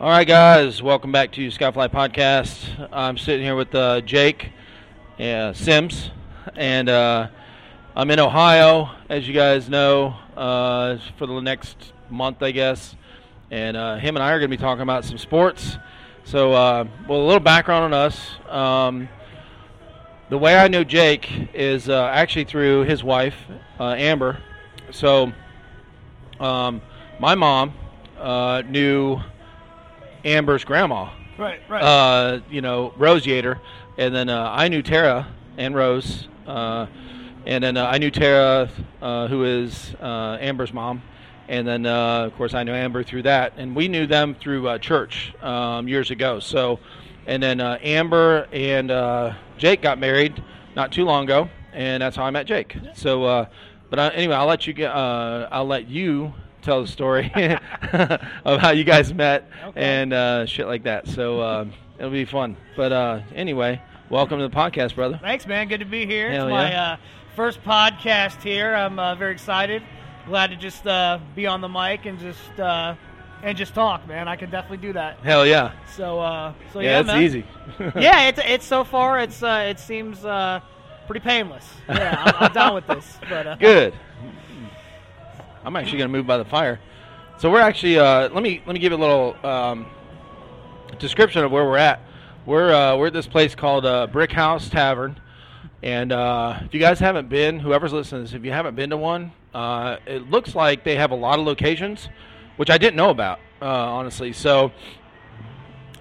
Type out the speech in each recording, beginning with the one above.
All right, guys, welcome back to Skyfly Podcast. I'm sitting here with uh, Jake uh, Sims, and uh, I'm in Ohio, as you guys know, uh, for the next month, I guess. And uh, him and I are going to be talking about some sports. So, uh, well, a little background on us. Um, the way I know Jake is uh, actually through his wife, uh, Amber. So, um, my mom uh, knew Amber's grandma, Right, right. uh, you know, Rose Yater. And then uh, I knew Tara and Rose. Uh, and then uh, I knew Tara, uh, who is uh, Amber's mom. And then, uh, of course, I knew Amber through that. And we knew them through uh, church um, years ago. So, and then uh, Amber and uh, Jake got married not too long ago. And that's how I met Jake. So, uh, but I, anyway, I'll let you get, uh, I'll let you tell the story of how you guys met Okay. and uh, shit like that. So um, it'll be fun. But uh, anyway, welcome to the podcast, brother. Thanks, man. Good to be here. Hell it's my yeah. uh, first podcast here. I'm uh, very excited. Glad to just uh, be on the mic and just uh, and just talk, man. I can definitely do that. Hell yeah. So, uh, so Yeah, yeah, it's man. easy. yeah, it's it's so far. It's uh, it seems uh, pretty painless. Yeah, I'm, I'm down with this. But uh, Good. I'm actually gonna move by the fire. So we're actually uh, let me let me give you a little um, description of where we're at. We're uh, we're at this place called uh, Brick House Tavern, and uh, if you guys haven't been, whoever's listening, to this, if you haven't been to one, uh, it looks like they have a lot of locations, which I didn't know about uh, honestly. So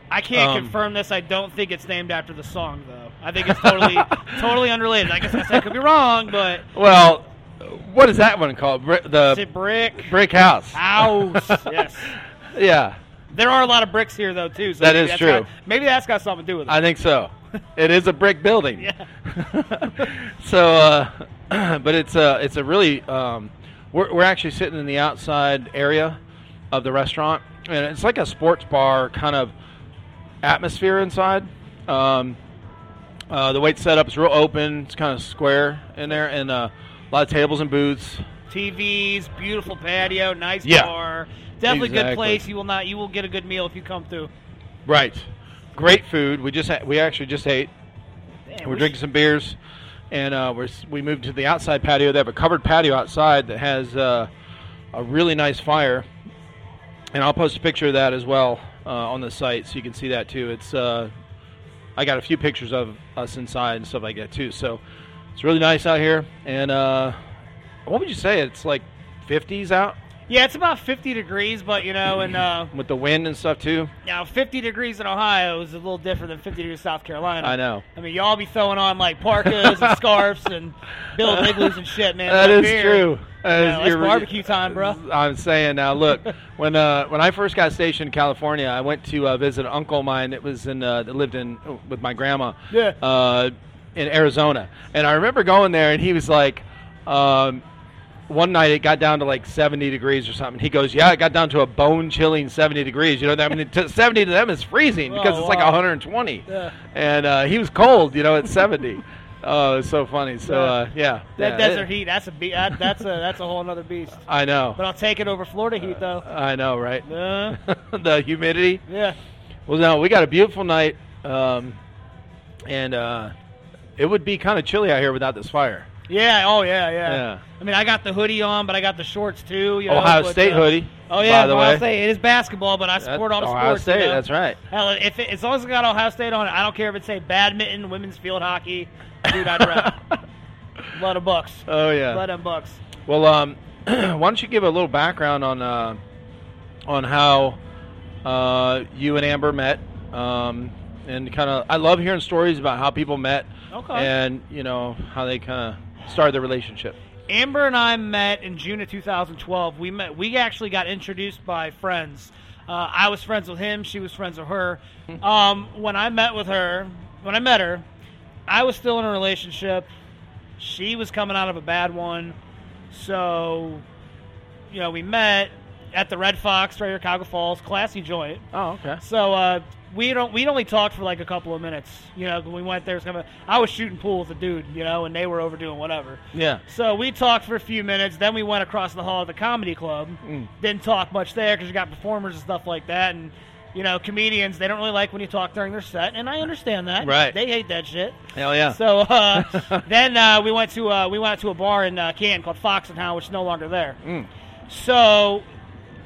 I can't Um, confirm this. I don't think it's named after the song though. I think it's totally totally unrelated. I guess I said I could be wrong, but well, what is that one called? Bri- is the it brick Uh, Brick House. house? yes. Yeah. There are a lot of bricks here, though, too. So That maybe is that's true. got- maybe that's got something to do with it. I think so. It is a brick building. Yeah. so, uh, but it's a it's a really um, we're we're actually sitting in the outside area of the restaurant, and it's like a sports bar kind of atmosphere inside. Um, uh, the way it's set up is real open. It's kind of square in there, and uh, a lot of tables and booths. TVs, beautiful patio, nice Yeah. bar. Definitely a Exactly. good place. You will not. You will get a good meal if you come through. Right. Great food. We just ha- we actually just ate. Man, We're we drinking some beers, and uh, we're s- we moved to the outside patio. They have a covered patio outside that has uh, a really nice fire, and I'll post a picture of that as well uh, on the site, so you can see that too. It's uh, I got a few pictures of us inside and stuff like that too. So it's really nice out here, and uh, what would you say? It's like 50s out should- Yeah, it's about 50 degrees, but you know, and uh, with the wind and stuff too. now 50 degrees in Ohio is a little different than 50 degrees in South Carolina. I know. I mean, y'all be throwing on like parkas and scarves and Bill Igloos and shit, man. That Up is here, true. That Yeah, is- that's you're- barbecue time, bruh. I'm saying now. Look, when uh, when I first got stationed in California, I went to uh, visit an uncle of mine that was in uh, that lived in with my grandma. Yeah. Uh, in Arizona, and I remember going there, and he was like. Um, one night it got down to like 70 degrees or something. He goes, "Yeah, it got down to a bone chilling 70 degrees." You know, that I mean, to 70 to them is freezing because Oh, it's like wow. 120. Yeah. And uh, he was cold, you know, at 70. Oh, it's so funny. So Yeah. uh, yeah, That yeah, it- desert heat. That's a be- that, that's a that's a whole other beast. I know. But I'll take it over Florida heat though. I know, right? Uh, the humidity. yeah. Well, no, we got a beautiful night, um, and uh, it would be kind of chilly out here without this fire. Yeah. Oh yeah, yeah. Yeah. I mean, I got the hoodie on, but I got the shorts too. You know, Ohio but, State uh, hoodie. Oh yeah, by the Ohio way. State. It is basketball, but I That- support all the Ohio sports. you State. know? that's right. Hell, if it, as long as I got Ohio State on it, I don't care if it's say badminton, women's field hockey. Dude, I'd rep. Blood of bucks. Oh yeah. Blood of bucks. Well, um, why don't you give a little background on uh, on how uh, you and Amber met, um, and kind of I love hearing stories about how people met, Okay. and you know how they kind of started their relationship. Amber and I met in June of 2012. We met. We actually got introduced by friends. Uh, I was friends with him. She was friends with her. Um, when I met with her, when I met her, I was still in a relationship. She was coming out of a bad one, so you know we met at the Red Fox right here, in Cuyahoga Falls, classy joint. Oh, okay. So uh, we don't we only talked for like a couple of minutes. You know, when we went there, it was kind of, I was shooting pool with a dude, you know, and they were overdoing whatever. Yeah. So we talked for a few minutes. Then we went across the hall of the comedy club. Mm. Didn't talk much there because you got performers and stuff like that. And You know, comedians they don't really like when you talk during their set, and I understand that. Right. They hate that shit. Hell yeah. So uh, then uh, we went to uh, we went to a bar in uh, Canton called Fox and Hound, which is no longer there. Mm. So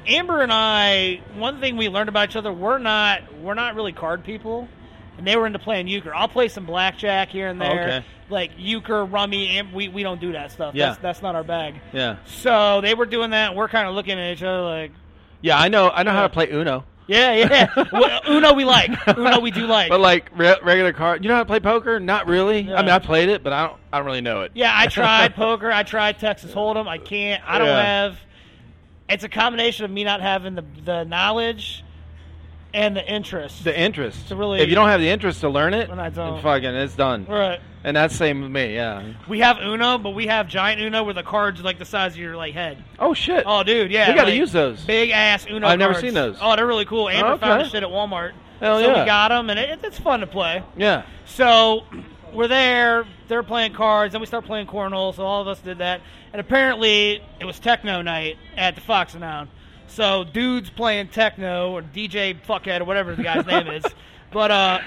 Amber and I, one thing we learned about each other, we're not we're not really card people, and they were into playing euchre. I'll play some blackjack here and Oh, there, okay. like euchre, rummy. And we we don't do that stuff. Yeah. That's, that's not our bag. Yeah. So they were doing that. And we're kind of looking at each other like, Yeah, I know. I know how to play Uno. yeah, yeah. Well, Uno we like. Uno we do like. But like re- regular card, you know how to play poker? Not really. Yeah. I mean, I played it, but I don't. I don't really know it. Yeah, I tried poker. I tried Texas Hold'em. I can't. I don't Yeah. have. It's a combination of me not having the the knowledge and the interest. The interest. So really- if you don't have the interest to learn it, When I don't. then fucking, it's done. right. And that's same with me. Yeah. We have Uno, but we have giant Uno where the cards are like the size of your like head. Oh shit. Oh, dude, yeah. We gotta like, use those. Big ass Uno. I've never cards. seen those. Oh, they're really cool. Amber found okay. this shit at Walmart. Hell so yeah. we got them, and it, it's fun to play. yeah. So we're there. They're playing cards. Then we start playing cornhole. So all of us did that. And apparently it was techno night at the Fox and Hound. So dudes playing techno or DJ fuckhead or whatever the guy's name is. But uh,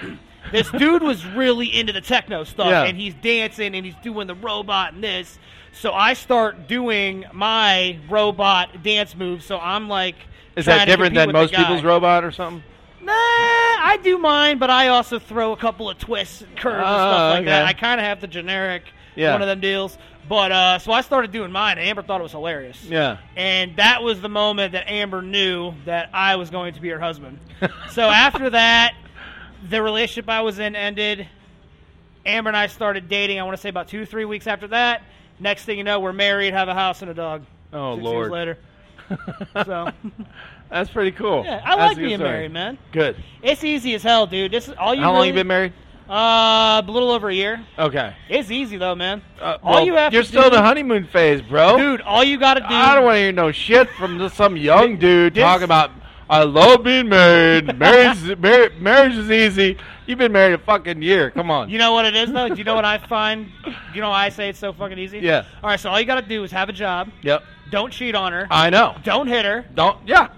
this dude was really into the techno stuff, Yeah. and he's dancing and he's doing the robot and this. So I start doing my robot dance move. So I'm like, Is trying that to different compete than with the most guy. people's robot or something? Nah, I do mine, but I also throw a couple of twists, and curves, and Oh, stuff like that. okay. I kind of have the generic Yeah. one of them deals. But uh, so I started doing mine, and Amber thought it was hilarious. Yeah. And that was the moment that Amber knew that I was going to be her husband. so after that, the relationship I was in ended. Amber and I started dating. I want to say about two, three weeks after that. Next thing you know, we're married, have a house and a dog. Oh, Six Lord. years later. So That's pretty cool. yeah, That's I like a good being story. married, man. Good. It's easy as hell, dude. This is all you. How really, long you been married? Uh, a little over a year. Okay. It's easy though, man. Uh, all well, you have You're to still do, in the honeymoon phase, bro. dude. All you gotta do. I don't want to hear no shit from just some young dude This- talking about I love being married. marriage, is- mar- marriage is easy. You've been married a fucking year. Come on. You know what it is though. Do you know what I find? You know why I say it's so fucking easy. Yeah. All right. So all you gotta do is have a job. yep. Don't cheat on her. I know. don't hit her. Don't. Yeah.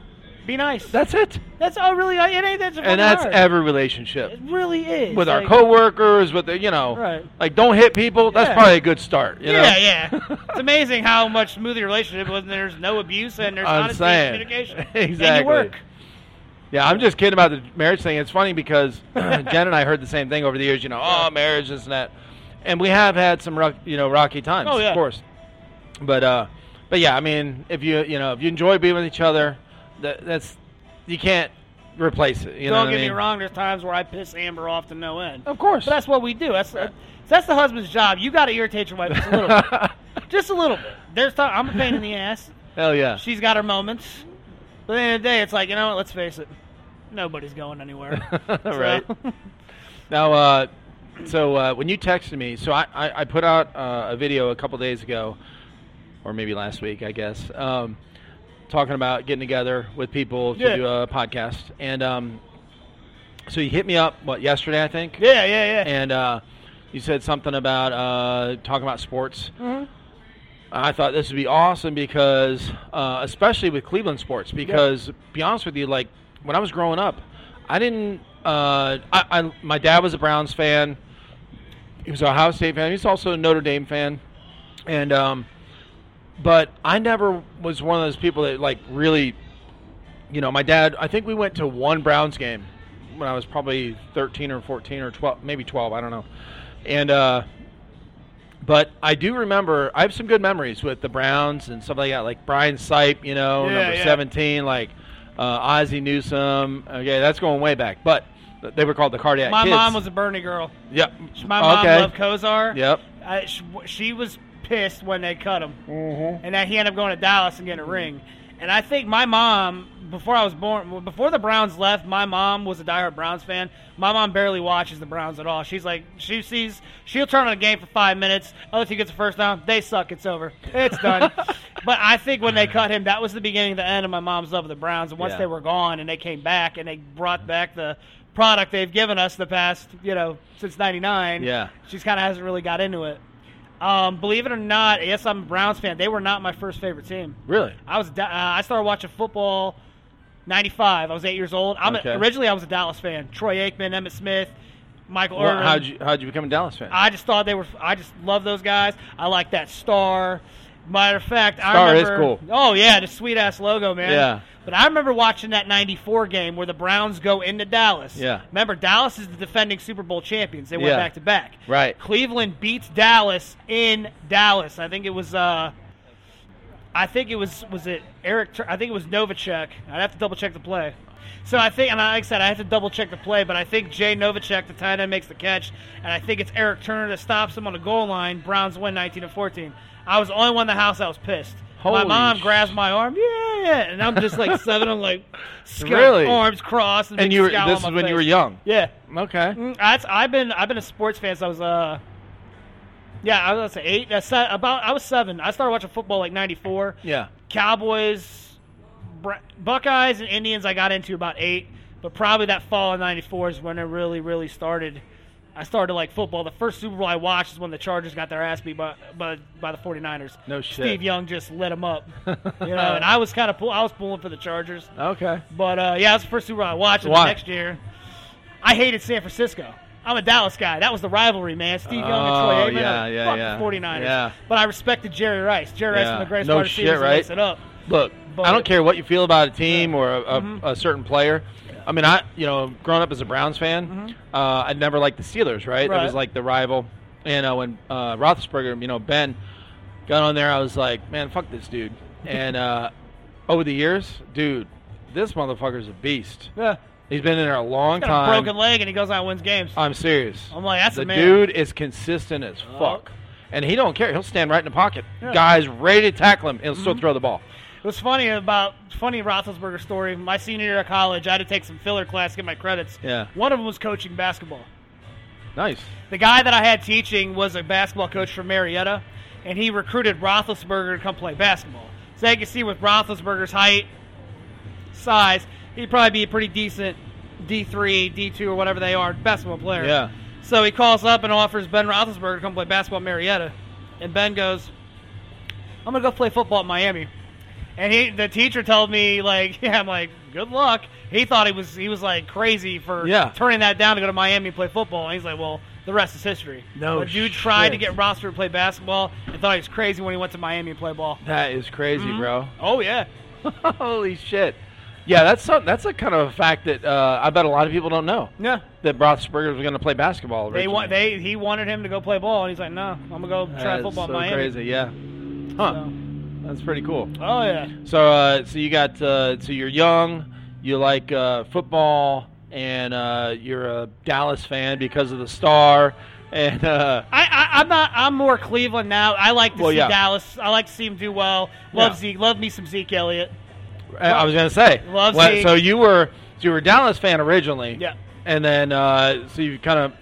Be nice. That's it. that's all really. It ain't that. fucking And that's hard. every relationship It really is. with our like- coworkers. With the you know, Right. like don't hit people. That's Yeah. probably a good start. You know? Yeah, yeah. It's amazing how much smoother your relationship was, and there's no abuse, and there's I'm honesty saying. and communication. And Exactly. you work. Yeah, I'm just kidding about the marriage thing. It's funny because Jen and I heard the same thing over the years. You know, oh, marriage, this and that, and we have had some rock, you know rocky times, Oh, yeah. of course. But uh, but yeah, I mean, if you you know if you enjoy being with each other, that, that's you can't replace it. You know Don't what get I me mean? wrong. There's times where I piss Amber off to no end. Of course. But that's what we do. That's that's the husband's job. You got to irritate your wife just a little bit. just a little bit. There's time. I'm a pain in the ass. Hell yeah. She's got her moments. But at the end of the day, it's like you know what? Let's face it. Nobody's going anywhere. So- right. Now, uh, so uh, when you texted me, so I, I, I put out uh, a video a couple days ago, or maybe last week, I guess, um, talking about getting together with people to Yeah. do a podcast. And um, so you hit me up, what, yesterday, I think? yeah, yeah, yeah. And uh, you said something about uh, talking about sports. Mhm. I thought this would be awesome because, uh, especially with Cleveland sports, because be honest with you, like when I was growing up, I didn't. Uh, I, I my dad was a Browns fan. He was an Ohio State fan. He's also a Notre Dame fan, and um, but I never was one of those people that like really, you know, my dad. I think we went to one Browns game when I was probably thirteen or fourteen or twelve, maybe twelve. I don't know, and. uh but I do remember I have some good memories with the Browns and stuff like that, like Brian Sipe, you know, Yeah, number yeah. seventeen, like uh, Ozzie Newsome. Okay, that's going way back, but they were called the Cardiac My Kids. mom was a Bernie girl. yep. My mom okay. loved Kozar. Yep. I, she, she was pissed when they cut him, and that he ended up going to Dallas and getting a ring. And I think my mom, before I was born, well, before the Browns left, my mom was a diehard Browns fan. My mom barely watches the Browns at all. She's like, she sees, she'll turn on a game for five minutes. Other team gets a first down, they suck. It's over. It's done. but I think when they cut him, that was the beginning, of the end of my mom's love of the Browns. And once Yeah. they were gone, and they came back, and they brought back the product they've given us the past, you know, since '99. Yeah. She's kind of hasn't really got into it. Um, believe it or not, yes, I'm a Browns fan. They were not my first favorite team. Really? I was da- uh, I started watching football 95. I was eight years old. I'm a- Okay. originally I was a Dallas fan. Troy Aikman, Emmett Smith, Michael Well, Irvin. how'd you how'd you become a Dallas fan? I just thought they were. I just love those guys. I like that star. Matter of fact, I Star is remember. cool. Oh yeah, the sweet ass logo, man. Yeah. But I remember watching that '94 game where the Browns go into Dallas. Yeah. Remember, Dallas is the defending Super Bowl champions. They went Yeah. back to back. Right. Cleveland beats Dallas in Dallas. I think it was. Uh, I think it was was it Eric. Tur- I think it was Novacek. I'd have to double check the play. So I think, and like I said, I have to double check the play, but I think Jay Novacek, the tight end, makes the catch, and I think it's Eric Turner that stops him on the goal line. Browns win 19 to 14. I was the only one in the house that was pissed. my Holy mom sh- grabs my arm, yeah, yeah, and I'm just like seven. I'm like, scout, Really? arms crossed, and, and big you were scowl this is on my when you were face. young. Yeah. Okay. Mm, That's I've been I've been a sports fan since I was uh yeah I was gonna say eight uh, se- about I was seven I started watching football like '94 Yeah. Cowboys Bra- Buckeyes and Indians I got into about eight but probably that fall of '94 is when it really really started I started to like football the first Super Bowl I watched is when the Chargers got their ass beat by by, by the 49ers No shit. Steve Young just lit them up you know and I was kind of pull- I was pulling for the Chargers Okay. but uh, yeah, that's the first Super Bowl I watched. And the Why? next year, I hated San Francisco. I'm a Dallas guy. That was the rivalry, man. Steve Young Oh, and Troy Aikman. yeah, I'm like, yeah, Fuck yeah. the 49ers. Yeah. But I respected Jerry Rice. Jerry Rice Yeah. from the greatest No part of shit, season right? it up. Look, But- Mm-hmm. I don't care what you feel about a team or a, a, a certain player. I mean, I you know, growing up as a Browns fan, uh, I never liked the Steelers. Right, that was Mm-hmm. Right. like the rival. You know, when uh, Roethlisberger, you know, Ben got on there, I was like, man, fuck this dude. And uh, over the years, dude, this motherfucker's a beast. Yeah. He's been in there a long Got a time. Uh, broken leg and he goes out and wins games. I'm serious. I'm like, that's the a man. dude is consistent as fuck, and he don't care. He'll stand right in the pocket. Guys ready to tackle him, and he'll still Mm-hmm. throw the ball. It was funny about funny Roethlisberger story. My senior year of college, I had to take some filler class to get my credits. Yeah. One of them was coaching basketball. Nice. The guy that I had teaching was a basketball coach from Marietta, and he recruited Roethlisberger to come play basketball. So you can see with Roethlisberger's height, size, he'd probably be a pretty decent D3, D2, or whatever they are basketball player. Yeah. So he calls up and offers Ben Roethlisberger to come play basketball at Marietta, and Ben goes, "I'm gonna go play football at Miami." And he, the teacher told me, like, yeah, I'm like, good luck. He thought he was, he was like crazy for Yeah. turning that down to go to Miami and play football. And he's like, well, the rest is history. No The dude tried to shit. get rostered to play basketball and thought he was crazy when he went to Miami and play ball. That is crazy, bro. Oh yeah, Mm-hmm. Holy shit. Yeah, that's some, that's a kind of a fact that uh, I bet a lot of people don't know yeah. that Roethlisberger was going to play basketball. They originally. want they he wanted him to go play ball, and he's like, no, I'm gonna go try That is football at so Miami. crazy. Yeah. Huh. So- That's pretty cool. oh yeah. So uh, so you got uh, so you're young, you like uh, football, and uh, you're a Dallas fan because of the star, and uh, I, I, I'm not. I'm more Cleveland now. I like to Well, see yeah. Dallas. I like to see him do well. Love Yeah. Zeke. Love me some Zeke Elliott. I was going to say. Love well, Zeke. so you were so you were a Dallas fan originally. Yeah. And then uh, so you kind of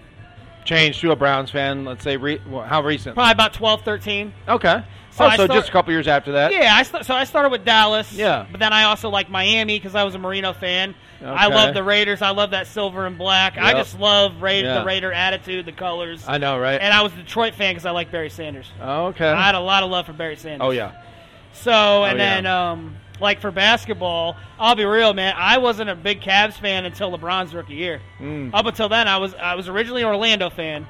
changed to a Browns fan. Let's say re- well, how recent? Probably about 12, 13. Okay. So So, oh, I so start- just a couple years after that. Yeah, I st- so I started with Dallas. Yeah. But then I also like Miami because I was a Marino fan. I Okay. love the Raiders. I love that silver and black. I Yep. just love Ra- Yeah. the Raider attitude, the colors. I know, right? and I was a Detroit fan because I like Barry Sanders. okay. I had a lot of love for Barry Sanders. oh yeah. So and Oh, yeah. then um, like for basketball, I'll be real, man. I wasn't a big Cavs fan until LeBron's rookie year. Mm. Up until then, I was I was originally an Orlando fan.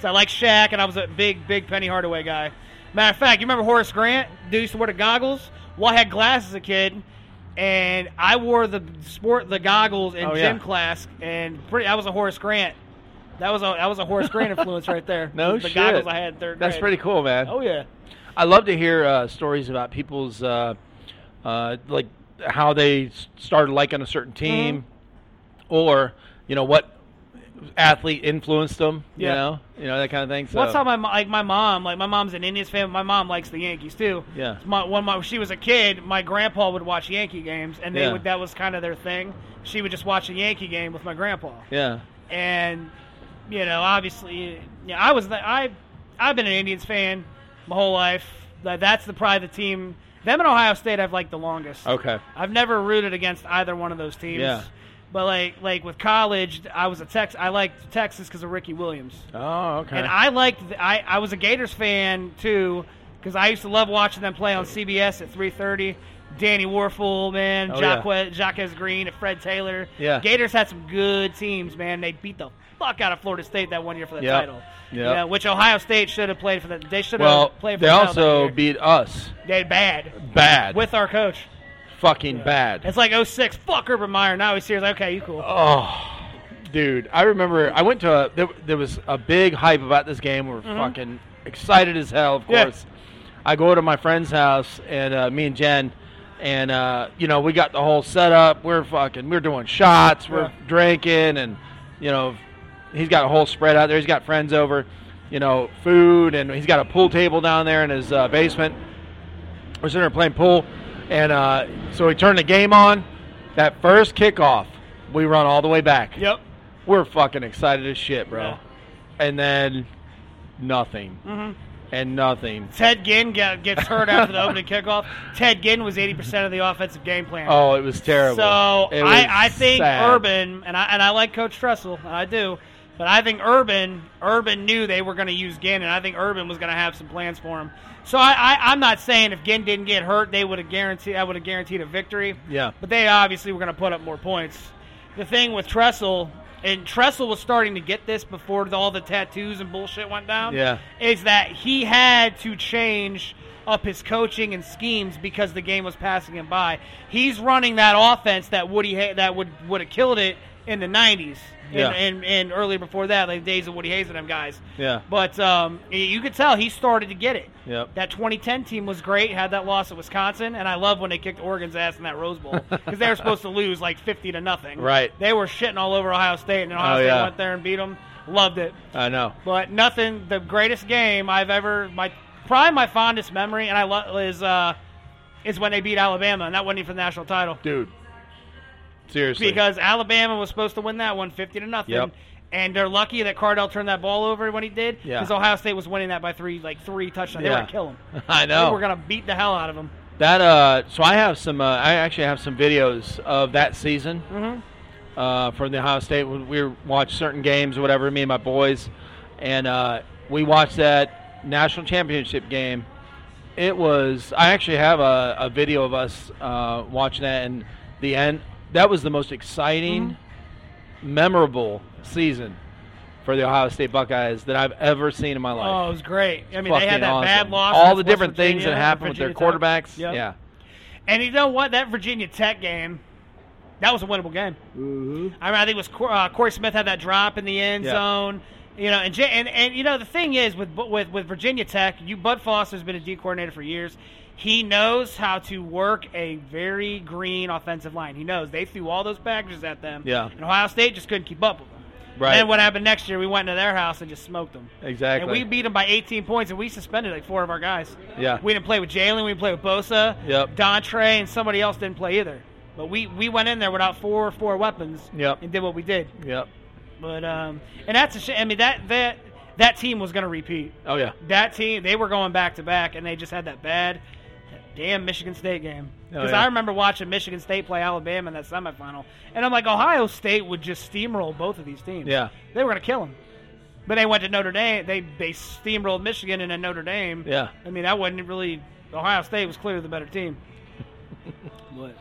So I like Shaq, and I was a big big Penny Hardaway guy. Matter of fact, you remember Horace Grant? Dude used to wear the goggles. Well, I had glasses as a kid, and I wore the sport the goggles in Oh, yeah. gym class, and pretty I was a Horace Grant. That was a that was a Horace Grant influence right there. No the shit. goggles I had in third. That's grade. pretty cool, man. Oh yeah. I love to hear uh, stories about people's uh, uh, like how they s- started liking a certain Mm-hmm. team, or you know what athlete influenced them. You Yeah. know, you know that kind of thing. So What's up, my mo- like my mom? Like my mom's an Indians fan. But my mom likes the Yankees too. Yeah. My, when my, she was a kid, my grandpa would watch Yankee games, and they Yeah. would, that was kind of their thing. She would just watch a Yankee game with my grandpa, Yeah. and you know, obviously, yeah, I was the, I I've been an Indians fan my whole life. Like, That's the probably the team. Them and Ohio State I've liked the longest. Okay. I've never rooted against either one of those teams. Yeah. But like like with college, I was a Tex. I liked Texas because of Ricky Williams. Oh, okay. And I liked. The, I I was a Gators fan too because I used to love watching them play on CBS at 3:30. Danny Warfel, man, Oh, yeah. Jacques, Jacques Green, and Fred Taylor. Yeah. Gators had some good teams, man. They beat the fuck out of Florida State that one year for the Yep. title. Yep. Yeah, which Ohio State should have played for the. They should have Well, played for they the title that also year. beat us they bad bad. with our coach. fucking bad. It's like 06, fuck Urban Meyer. Now he's here. Like, okay, you cool. Oh, dude, I remember I went to a there, there was a big hype about this game. We were fucking excited as hell, of Mm-hmm. Yeah. course. I go to my friend's house and uh, me and Jen, and uh, you know we got the whole setup. We're fucking, we're doing shots, we're Yeah. drinking, and you know he's got a whole spread out there. He's got friends over, you know, food, and he's got a pool table down there in his uh, basement. We're sitting there playing pool, and uh, so we turned the game on. That first kickoff, we run all the way back. Yep. We're fucking excited as shit, bro. Yeah. And then nothing hmm and nothing. Ted Ginn get, gets hurt after the opening kickoff. Ted Ginn was 80% of the offensive game plan. Oh, it was terrible. So It was I, I think sad. Urban and I and I like Coach Tressel, and I do, but I think Urban Urban knew they were going to use Ginn, and I think Urban was going to have some plans for him. So I, I I'm not saying if Ginn didn't get hurt, they would have guaranteed I would have guaranteed a victory. Yeah. But they obviously were going to put up more points. The thing with Tressel, and Tressel was starting to get this before the- all the tattoos and bullshit went down, Yeah. is that he had to change up his coaching and schemes because the game was passing him by. He's running that offense that Woody ha- that would would have killed it in the 90s and, Yeah. and, and earlier before that, like days of Woody Hayes and them guys. Yeah. But um, y- you could tell he started to get it. Yep. That 2010 team was great. Had that loss at Wisconsin, and I love when they kicked Oregon's ass in that Rose Bowl because they were supposed to lose like 50 to nothing. Right. They were shitting all over Ohio State, and Ohio Oh, State yeah. went there and beat them. Loved it, I know. but nothing. The greatest game I've ever my probably my fondest memory, and I love is uh is when they beat Alabama, and that wasn't even for the national title Dude. Seriously. because Alabama was supposed to win that one 50 to nothing. Yep. And they're lucky that Cardell turned that ball over when he did Yeah. because Ohio State was winning that by three, like three touchdowns. They were Yeah. gonna kill him. I They know. were gonna beat the hell out of him. That uh, so I have some. Uh, I actually have some videos of that season Mm-hmm. uh, from the Ohio State. We- We watched certain games or whatever. Me and my boys, and uh, we watched that national championship game. It was. I actually have a, a video of us uh, watching that, and the end. That was the most exciting, Mm-hmm. memorable season for the Ohio State Buckeyes that I've ever seen in my life Oh, it was great. I mean, they fucking had that bad awesome. loss. All the against West different things Virginia, that happened with their Virginia Tech. quarterbacks. Yep. Yeah. And you know what? That Virginia Tech game, that was a winnable game. I mean, I think it was Cor- uh, Corey Smith had that drop in the end Yeah. zone. You know, and, J- and and you know the thing is with with with Virginia Tech, you Bud Foster's been a D coordinator for years. He knows how to work a very green offensive line. He knows they threw all those packages at them. Yeah. And Ohio State just couldn't keep up with them. Right. Then what happened next year? We went into their house and just smoked them. Exactly. And we beat them by 18 points, and we suspended like four of our guys. Yeah. We didn't play with Jalen. We didn't play with Bosa. Yep. Dontre and somebody else didn't play either. But we, we went in there without four four weapons. Yep. And did what we did. Yep. But um, and that's a shame. I mean that that that team was going to repeat. Oh yeah. That team they were going back to back, and they just had that bad, that damn Michigan State game. Oh, Because yeah. I remember watching Michigan State play Alabama in that semifinal, and I'm like, Ohio State would just steamroll both of these teams. Yeah. They were going to kill them. But they went to Notre Dame. They they steamrolled Michigan and then Notre Dame. Yeah. I mean, I wasn't really. Ohio State was clearly the better team. but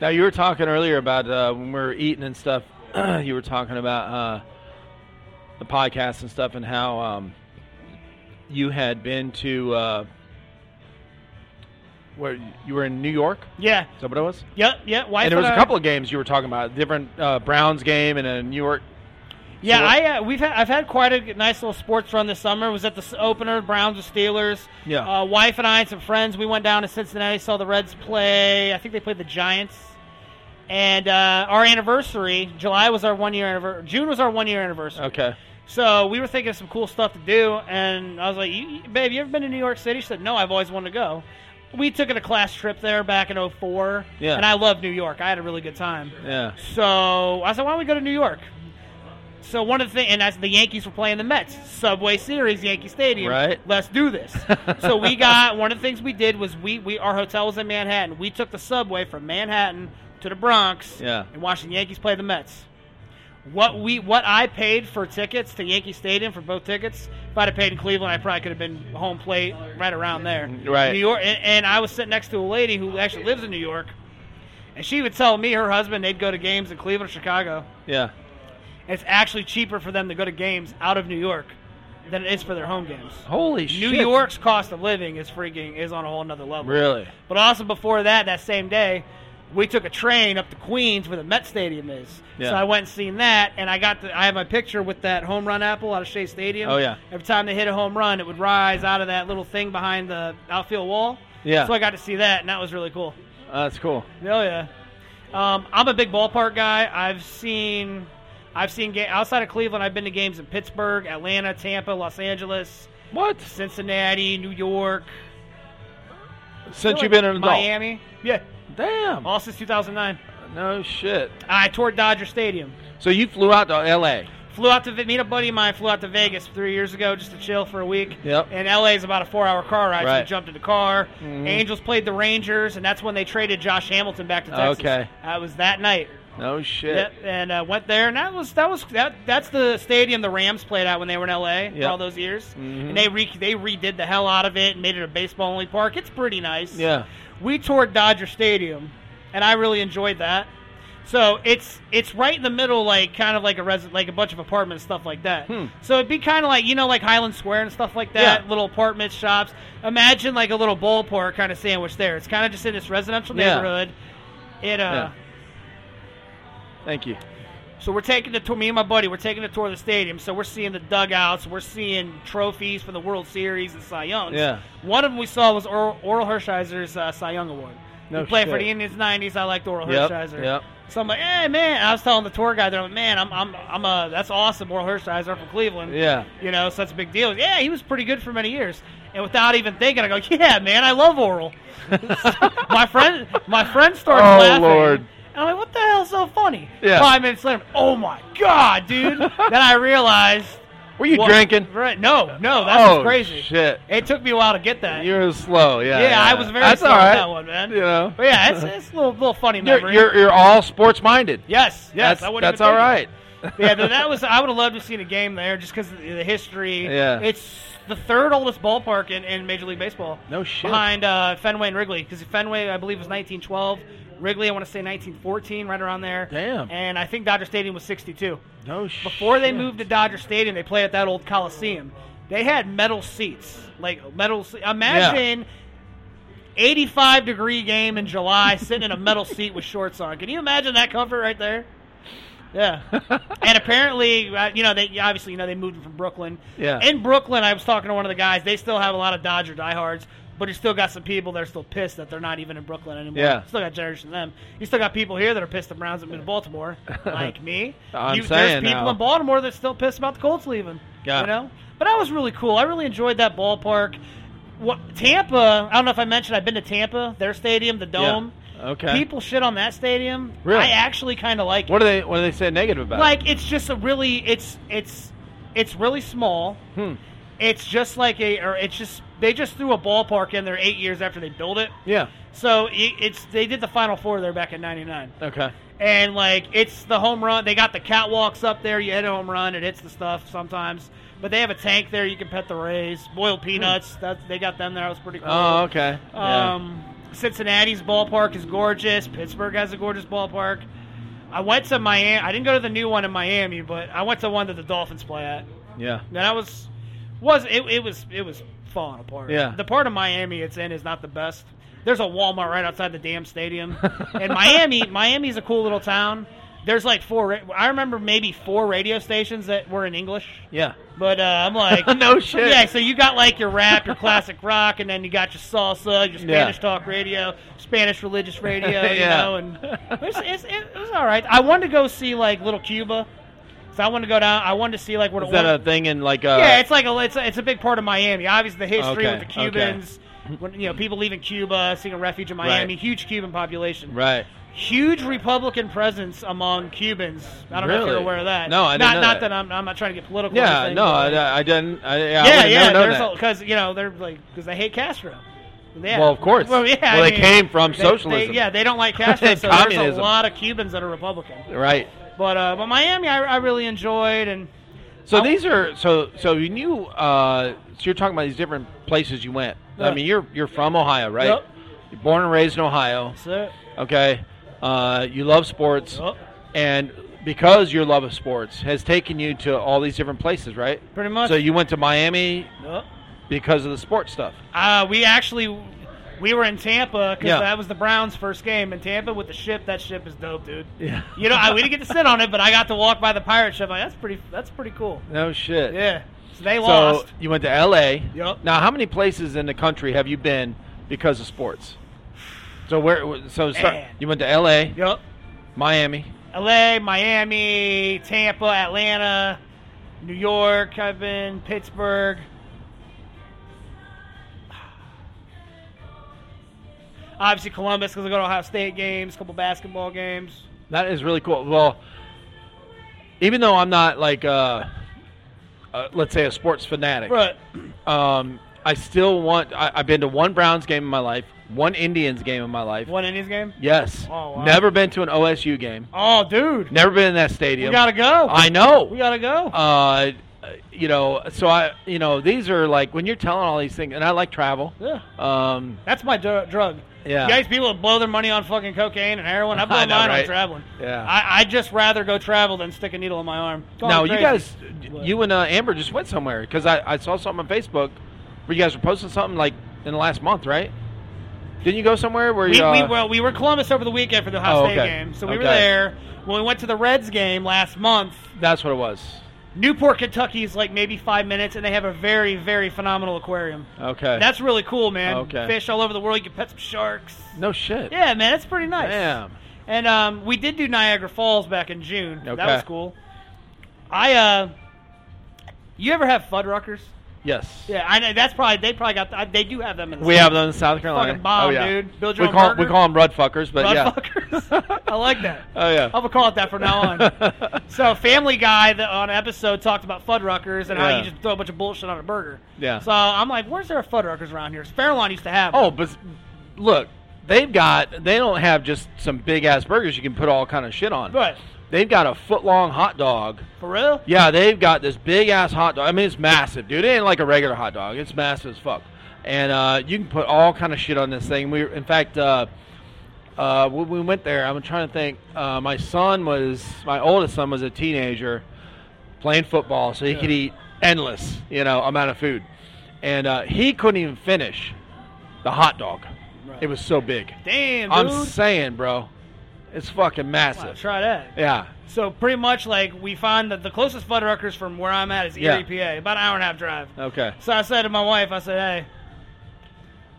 Now you were talking earlier about uh, when we were eating and stuff. you were talking about uh, the podcast and stuff, and how um, you had been to uh, where you were in New York. yeah, Is that what it was? yep, yep. Wife and there was I- a couple of games you were talking about, different uh, Browns game and a New York. Yeah, So- I uh, we've had, I've had quite a nice little sports run this summer. Was at the s- opener, Browns and Steelers. Yeah. Uh, wife and I and some friends, we went down to Cincinnati, saw the Reds play. I think they played the Giants. And uh, our anniversary, July was our one year anniversary. June was our one year anniversary. Okay. So we were thinking of some cool stuff to do, and I was like, you, you- "Babe, you ever been to New York City?" She said, "No, I've always wanted to go." We took it a class trip there back in '04, Yeah. and I love New York. I had a really good time. Yeah. So I said, why don't we go to New York? So one of the things, and that's the Yankees were playing the Mets, Subway Series, Yankee Stadium. Right. Let's do this. so we got one of the things we did was we we our hotel was in Manhattan. We took the subway from Manhattan to the Bronx. Yeah. And watched the Yankees play the Mets. What we what I paid for tickets to Yankee Stadium for both tickets. If I'd have paid in Cleveland, I probably could have been home plate right around there. Right. New York, and, and I was sitting next to a lady who actually lives in New York, and she would tell me her husband they'd go to games in Cleveland, or Chicago. Yeah. It's actually cheaper for them to go to games out of New York than it is for their home games. Holy New Oh, shit. York's cost of living is freaking is on a whole nother level. Really? But also before that, that same day, we took a train up to Queens where the Met Stadium is. Yeah. So I went and seen that, and I got the, I have my picture with that home run apple out of Shea Stadium. Oh, yeah. Every time they hit a home run, it would rise out of that little thing behind the outfield wall. Yeah. So I got to see that, and that was really cool. Uh, that's cool. Oh yeah. Um, I'm a big ballpark guy. I've seen, I've seen ga- outside of Cleveland. I've been to games in Pittsburgh, Atlanta, Tampa, Los Angeles, What? Cincinnati, New York. Since Really? you've been an adult. Miami. Yeah. Damn. All since 2009. No shit. I toured Dodger Stadium. So you flew out to L.A. Flew out to Ve- meet a buddy of mine. Flew out to Vegas three years ago just to chill for a week. Yep. And LA is about a four-hour car ride. So we Right. jumped in the car. Mhm. Angels played the Rangers, and that's when they traded Josh Hamilton back to Texas. Okay. That was that night. No shit. Yep. And uh, went there, and that was that was that. That's the stadium the Rams played at when they were in LA for Yep. all those years. Mhm. And they re- they redid the hell out of it and made it a baseball-only park. It's pretty nice. Yeah. we toured Dodger Stadium, and I really enjoyed that. So it's it's right in the middle, like kind of like a res- like a bunch of apartments, stuff like that. Hmm. So it'd be kind of like you know, like Highland Square and stuff like that, Yeah. little apartment shops. Imagine like a little ballpark kind of sandwich there. It's kind of just in this residential Yeah. neighborhood. It uh, Thank you. so we're taking the tour. Me and my buddy, we're taking the tour of the stadium. So we're seeing the dugouts. We're seeing trophies from the World Series and Cy Young's. Yeah. One of them we saw was Or- Oral Hershiser's uh, Cy Young Award. No he played for shit. the Indians '90s. I liked Oral Yep, Hershiser. yep. So I'm like, hey man, I was telling the tour guide, there, I'm like, man, I'm, I'm, I'm a, that's awesome. Oral Hershiser from Cleveland. Yeah. You know, so that's a big deal. Yeah, he was pretty good for many years. And without even thinking, I go, yeah, man, I love Oral. my friend, my friend started Oh, laughing. Lord. And I'm like, what the hell's so funny? Yeah. Five minutes later, oh my god, dude. then I realized. Were you what- drinking? Right? No, no, that oh was crazy. shit. It took me a while to get that. You were slow. Yeah. Yeah, I was very That's slow all on right. that one, man. You know. but yeah, it's, it's a little, little funny You're, memory. you're, you're all sports minded. yes, yes, That's, I wouldn't that's even all think of it. right. yeah, but that was. I would have loved to have seen a game there just because of the the history. Yeah. it's the third oldest ballpark in, in Major League Baseball. No shit. behind uh, Fenway and Wrigley because Fenway, I believe, was 1912. Wrigley, I want to say 1914, right around there. Damn. And I think Dodger Stadium was 62. No shit. Before they moved to Dodger Stadium, they played at that old Coliseum. They had metal seats, like metal. Se- Imagine. 85 degree game in July, sitting in a metal seat with shorts on. Can you imagine that comfort right there? Yeah. and apparently, uh, you know, they obviously, you know, they moved from Brooklyn. Yeah. In Brooklyn, I was talking to one of the guys. They still have a lot of Dodger diehards, but you still got some people that are still pissed that they're not even in Brooklyn anymore. Yeah. Still got generation them. You still got people here that are pissed the Browns have been to Baltimore, like me. I'm you, saying there's people now. in Baltimore that are still pissed about the Colts leaving. Yeah. You know. But that was really cool. I really enjoyed that ballpark. What Tampa? I don't know if I mentioned. I've been to Tampa, their stadium, the Yeah. dome. Okay. People shit on that stadium. Really? I actually kind of like it What do they What do they say negative about? like it's just a really it's it's it's really small it? Hmm. it's just like a or it's just they just threw a ballpark in there eight years after they built it Yeah. so it, it's they did the final four there back in 99 Okay. and like it's the home run they got the catwalks up there you hit a home run it hits the stuff sometimes but they have a tank there you can pet the rays boiled peanuts that they got them there that was pretty cool Hmm. Oh, okay. Yeah. um, Cincinnati's ballpark is gorgeous. Pittsburgh has a gorgeous ballpark. I went to Miami. I didn't go to the new one in Miami, but I went to one that the Dolphins play at. yeah. And that was was it, it was it was falling apart. Yeah. The part of Miami it's in is not the best. There's a Walmart right outside the damn stadium, and Miami Miami's a cool little town. There's like four. ra- I remember maybe four radio stations that were in English. Yeah. But uh, I'm like, No shit. Yeah, so you got like your rap, your classic rock, and then you got your salsa, your Yeah. Spanish talk radio, Spanish religious radio, you Yeah. know, and it's, it's, it was all right. I wanted to go see like Little Cuba, so I wanted to go down. I wanted to see like what Is it that was. a thing in like uh, a? yeah, it's like a it's a, it's a big part of Miami. Obviously, the history Okay, with the Cubans, when you know people leaving Cuba, seeking refuge in Miami, huge Cuban population, right. huge Republican presence among Cubans. I don't know if you're Really? aware of that. No, I didn't not know not that. that, I'm, I'm not trying to get political. or Yeah. anything, No, but, I, like, I didn't. I, yeah. yeah, I yeah. Never known There's that. because you know they're like because they hate Castro. Yeah. Well, of course. Well, yeah. Well, I they mean, came from they- socialism. they- yeah, they don't like Castro. And so there's a communism. lot of Cubans that are Republican. Right. But uh, but Miami, I, I really enjoyed, and So I- these are so so you knew uh, so you're talking about these different places you went. I Yeah. mean you're you're from Ohio, right? Yep. You're born and raised in Ohio. that's it. Okay. Uh, you love sports, Yup. and because your love of sports has taken you to all these different places, right? Pretty much. Oh. So you went to Miami Yup. because of the sports stuff. Uh, we actually we were in Tampa because Yeah. that was the Browns' first game in Tampa with the ship. That ship is dope, dude. Yeah. You know, I, we didn't get to sit on it, but I got to walk by the pirate ship. Like, that's pretty. That's pretty cool. No shit. Yeah. So they So lost. you went to L.A. Yup. Now, how many places in the country have you been because of sports? So where? So start, Man. you went to L.A., Yup. Miami. L.A., Miami, Tampa, Atlanta, New York. I've been Pittsburgh. Obviously Columbus because I go to Ohio State games, couple basketball games. That is really cool. Well, even though I'm not like, uh, uh, let's say, a sports fanatic, But um, I still want. I, I've been to one Browns game in my life, one Indians game in my life. one Indians game. Yes. Oh, wow. Never been to an OSU game. Oh, dude. Never been in that stadium. We gotta go. I know. we gotta go. uh, you know, so I, you know, these are like when you're telling all these things, and I like travel. yeah. Um, That's my dr- drug. Yeah. You guys, people that blow their money on fucking cocaine and heroin. I blow I know, mine right? on traveling. Yeah. I, I just rather go travel than stick a needle in my arm. Going now you crazy. guys, What? you and uh, Amber just went somewhere because I, I saw something on Facebook where you guys were posting something like in the last month, right? Didn't you go somewhere where We, you? we, uh, well, we were in Columbus over the weekend for the Ohio Oh, State okay. game, so we were Okay. there. When we went to the Reds game last month, that's what it was. Newport, Kentucky is like maybe five minutes, and they have a very, very phenomenal aquarium. Okay. That's really cool, man. Okay. Fish all over the world. You can pet some sharks. no shit. Yeah, man, it's pretty nice. Damn. And um, we did do Niagara Falls back in June. That Okay. was cool. I uh, you ever have Fuddruckers? Yes. Yeah, I know that's probably they probably got I, they do have them in. The We have them in South Carolina. Fucking bomb, oh, yeah. dude. Build your we own call we burger. call them rudfuckers, but yeah. Fuddruckers. I like that. Oh yeah. I'm gonna call it that from now on. so Family Guy that on an episode talked about Fuddruckers and how Yeah. you just throw a bunch of bullshit on a burger. Yeah. So I'm like, where's there a Fuddruckers around here? Fairlawn used to have. them. Oh, but s- look, they've got they don't have just some big ass burgers you can put all kind of shit on. but They've got a foot long hot dog. for real, Yeah, they've got this big ass hot dog. I mean, it's massive, dude. It ain't like a regular hot dog. It's massive as fuck. And uh, you can put all kind of shit on this thing. We, in fact, uh, uh, when we went there, I'm trying to think. Uh, my son was my oldest son was a teenager playing football, so he could eat endless, you know, amount of food, and uh, he couldn't even finish the hot dog. Right. It was so big. damn, I'm dude. saying, bro, it's fucking Wow, massive. try that. Yeah, So pretty much like we find that the closest Fuddruckers from where I'm at is Yeah. Oh. Erie, PA, about an hour and a half drive. okay. So I said to my wife, I said, hey,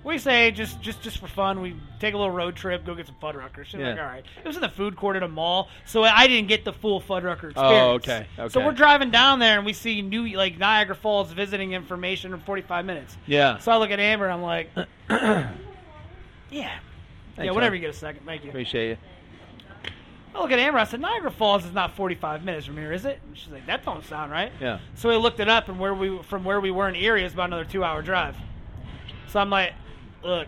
we say just just just for fun, we take a little road trip, go get some Fuddruckers. She's Yeah. like, all right. It was in the food court at a mall, so I didn't get the full Fuddrucker experience. Oh, okay, So okay. we're driving down there and we see new like Niagara Falls visiting information in 45 minutes. Yeah. So I look at Amber, I'm like, yeah. yeah, Thanks, whatever man. you get a second. Thank you. Appreciate you. I Oh, look at Amber. I said, Niagara Falls is not 45 minutes from here, is it? And she's like, that don't sound right. Yeah. So we looked it up, and where we from where we were in Erie is about another two-hour drive. So I'm like, look,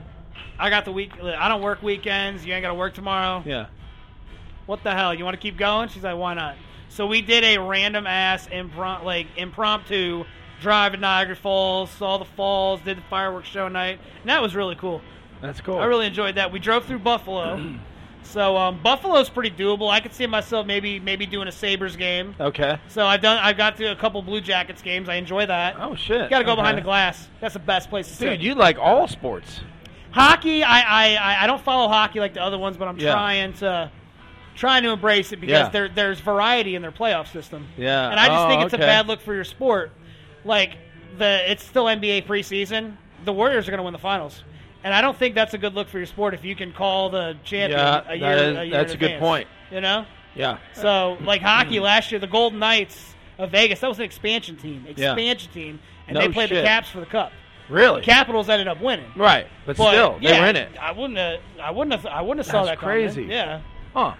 I got the week. look, I don't work weekends. You ain't got to work tomorrow. Yeah. What the hell? You want to keep going? She's like, why not? So we did a random ass impromptu, like impromptu drive in Niagara Falls, saw the falls, did the fireworks show night, and that was really cool. That's cool. I really enjoyed that. We drove through Buffalo. So um, Buffalo's pretty doable. I could see myself maybe maybe doing a Sabres game. Okay. So I've done I've got to a couple Blue Jackets games. I enjoy that. Oh shit. Got to go Okay. behind the glass. That's the best place to sit. Dude, you like all sports. hockey. I, I- I I don't follow hockey like the other ones, but I'm Yeah. trying to trying to embrace it because Yeah. there there's variety in their playoff system. Yeah. And I just Oh, think it's okay. a bad look for your sport. Like the it's still NBA preseason. The Warriors are going to win the finals. And I don't think that's a good look for your sport if you can call the champion Yeah, a year. that is- a year that's in a good advance, point. You know, Yeah. so like hockey last year, the Golden Knights of Vegas that was an expansion team, Yeah. expansion team, and No they played the shit. Caps for the cup. Really? Capitals ended up winning. right. But, still, they yeah, were in it. I wouldn't have. I wouldn't have. I wouldn't have saw That's that coming. crazy. Yeah. Huh.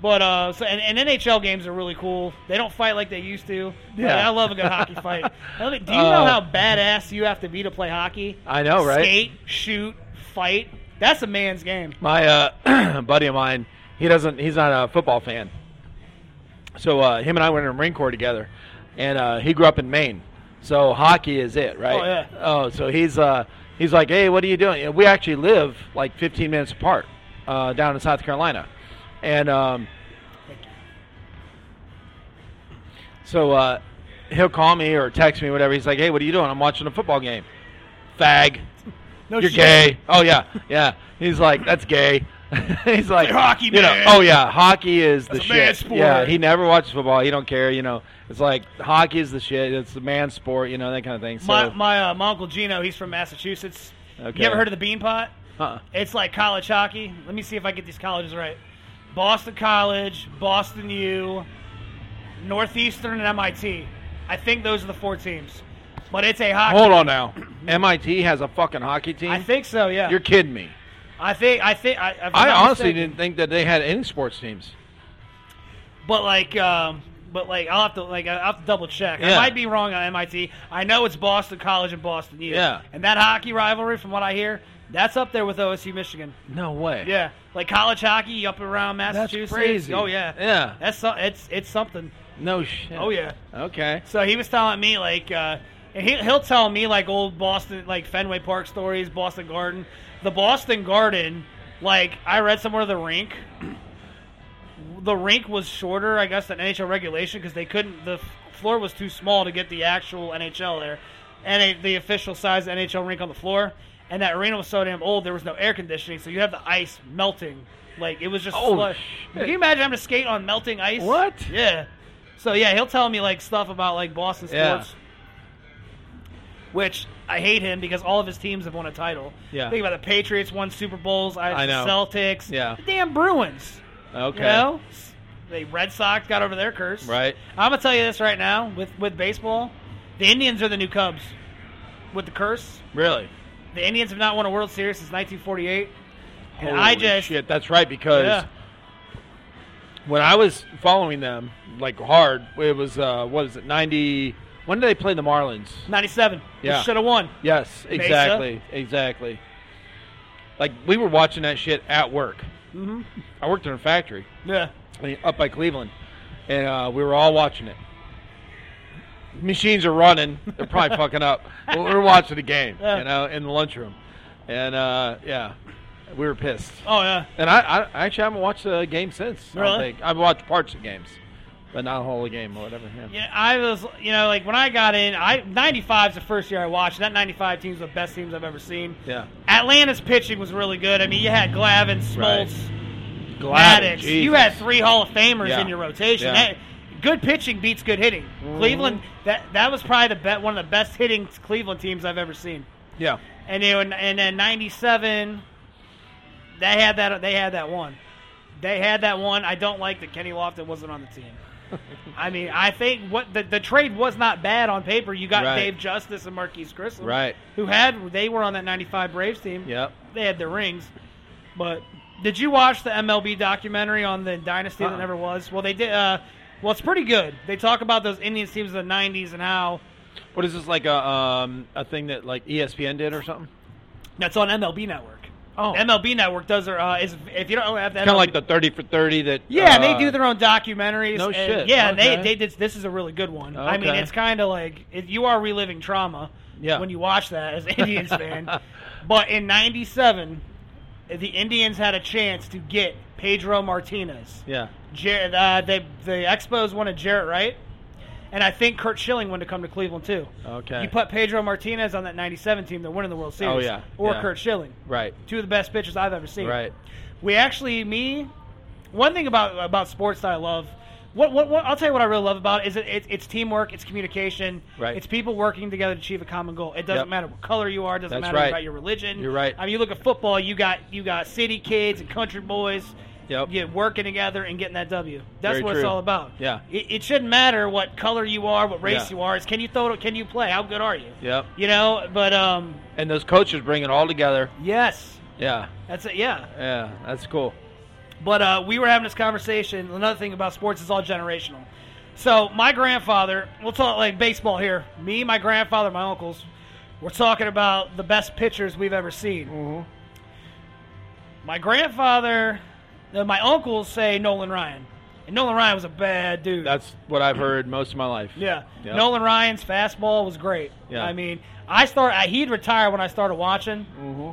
But uh, so and, and NHL games are really cool. They don't fight like they used to. Yeah. Like, I love a good hockey fight. I mean, Do you Uh, know how badass you have to be to play hockey? I know, right? Skate, shoot, fight. That's a man's game. My uh, buddy of mine, he doesn't he's not a football fan. So uh, him and I went in the Marine Corps together, and uh, he grew up in Maine. So hockey is it, right? Oh, yeah. Oh, so he's uh, he's like, hey, what are you doing? And we actually live like 15 minutes apart uh, down in South Carolina, and um, so uh, he'll call me or text me, whatever. He's like, hey, what are you doing? I'm watching a football game. Fag. No You're shit. gay. Oh yeah, yeah. He's like, that's gay. He's like, hockey, you know, man. oh yeah, hockey is the That's a shit. man's sport. Yeah, he never watches football. He don't care. You know, it's like hockey is the shit. It's the man sport. You know that kind of thing. So, My my, uh, my uncle Gino, he's from Massachusetts. Okay. You ever heard of the Bean Pot? uh-uh. It's like college hockey. Let me see if I get these colleges right. Boston College, Boston U, Northeastern, and MIT. I think those are the four teams. But it's a hockey. hold on now. MIT has a fucking hockey team. I think so. Yeah. You're kidding me. I think. I think. I, if I'm I not honestly mistaken. didn't think that they had any sports teams. But like, um, but like, I'll have to like, I'll have to double check. Yeah. I might be wrong on MIT. I know it's Boston College and Boston U. Yeah. And that hockey rivalry, from what I hear, that's up there with OSU Michigan. No way. Yeah. Like college hockey up around Massachusetts. crazy. Oh yeah. Yeah. That's so, it's it's something. No shit. Oh yeah. Okay. So he was telling me like, uh, and he he'll tell me like old Boston like Fenway Park stories, Boston Garden, the Boston Garden. Like I read somewhere the rink, the rink was shorter, I guess, than NHL regulation because they couldn't. The f- floor was too small to get the actual NHL there, and a, the official size NHL rink on the floor. And that arena was so damn old, there was no air conditioning, so you have the ice melting. Like it was just Oh, slush. shit. Can you imagine having to skate on melting ice? What? Yeah. So yeah, he'll tell me like stuff about like Boston Yeah. sports, which I hate him because all of his teams have won a title. Yeah. Think about the Patriots won Super Bowls. I, I know. Celtics. Yeah. The damn Bruins. Okay. You know, the Red Sox got over their curse. Right. I'm gonna tell you this right now with with baseball, the Indians are the new Cubs. With the curse, Really. the Indians have not won a World Series since 1948, and Holy I just shit. That's right because Yeah. when I was following them like hard, it was uh, what is it ninety? When did they play the Marlins? 97. Yeah. should have won. Yes, exactly, exactly. Like we were watching that shit at work. Mm-hmm. hmm I worked in a factory Yeah. like, up by Cleveland, and uh, we were all watching it. Machines are running; they're probably fucking up. But we were watching the game, Yeah. you know, in the lunchroom, and uh, yeah, we were pissed. Oh yeah. And I, I actually haven't watched the game since. I don't Really? think. I've watched parts of games, but not the whole game or whatever. Yeah. Yeah, I was, you know, like when I got in, I 95 is the first year I watched. That 95 team's the best teams I've ever seen. Yeah. Atlanta's pitching was really good. I mean, you had Glavin, Smoltz, Gladys, Maddox. You Jesus. had three Hall of Famers Yeah. in your rotation. Yeah. Mm-hmm. That- good pitching beats good hitting. Cleveland, that that was probably the bet, one of the best hitting Cleveland teams I've ever seen. Yeah. And you know, and, and then '97, they had that. They had that one. They had that one. I don't like that Kenny Lofton wasn't on the team. I mean, I think what the, the trade was not bad on paper. You got Right. Dave Justice and Marquise Grissom, Right. Who had they were on that '95 Braves team. Yep. They had their rings, but did you watch the MLB documentary on the dynasty Uh-uh. that never was? Well, they did. Uh, well, it's pretty good. They talk about those Indians teams of the '90s and how What is this like a um a thing that like ESPN did or something? that's on MLB Network. Oh, kind MLB Network does their uh, is if you don't have the of MLB like the thirty for thirty that. yeah they uh, do their own documentaries. No and- shit. Yeah, Okay. they they did, this is a really good one. I mean, Okay. it's kind of like if you are reliving trauma Yeah. when you watch that as an Indians fan. But in '97, the Indians had a chance to get Pedro Martinez. Yeah. Jar- uh, they the Expos wanted Jarrett Wright, and I think Kurt Schilling wanted to come to Cleveland too. Okay. You put Pedro Martinez on that '97 team, they're winning the World Series. Oh, yeah. or Yeah. Kurt Schilling right. two of the best pitchers I've ever seen. Right. We actually, me, one thing about about sports that I love. What, what, what I'll tell you what I really love about it is it, it, it's teamwork, it's communication, Right. it's people working together to achieve a common goal. It doesn't Yep. matter what color you are, it doesn't That's matter right. about your religion. You're right. I mean, you look at football, you got you got city kids and country boys, Yep. yeah, working together and getting that W. That's Very what it's true. all about. Yeah. it, it shouldn't matter what color you are, what race Yeah. you are. It's can you throw it? Can you play? How good are you? Yep. You know, but um, And those coaches bring it all together. yes, Yeah. that's it. Yeah, Yeah. That's cool. But uh, we were having this conversation. Another thing about sports is all generational. So my grandfather, we'll talk like baseball here. Me, my grandfather, my uncles, we're talking about the best pitchers we've ever seen. Mm-hmm. My grandfather, uh, my uncles say Nolan Ryan. And Nolan Ryan was a bad dude. That's what I've heard most of my life. Yeah. Yep. Nolan Ryan's fastball was great. Yeah. I mean, I start I, he'd retire when I started watching, Mm-hmm.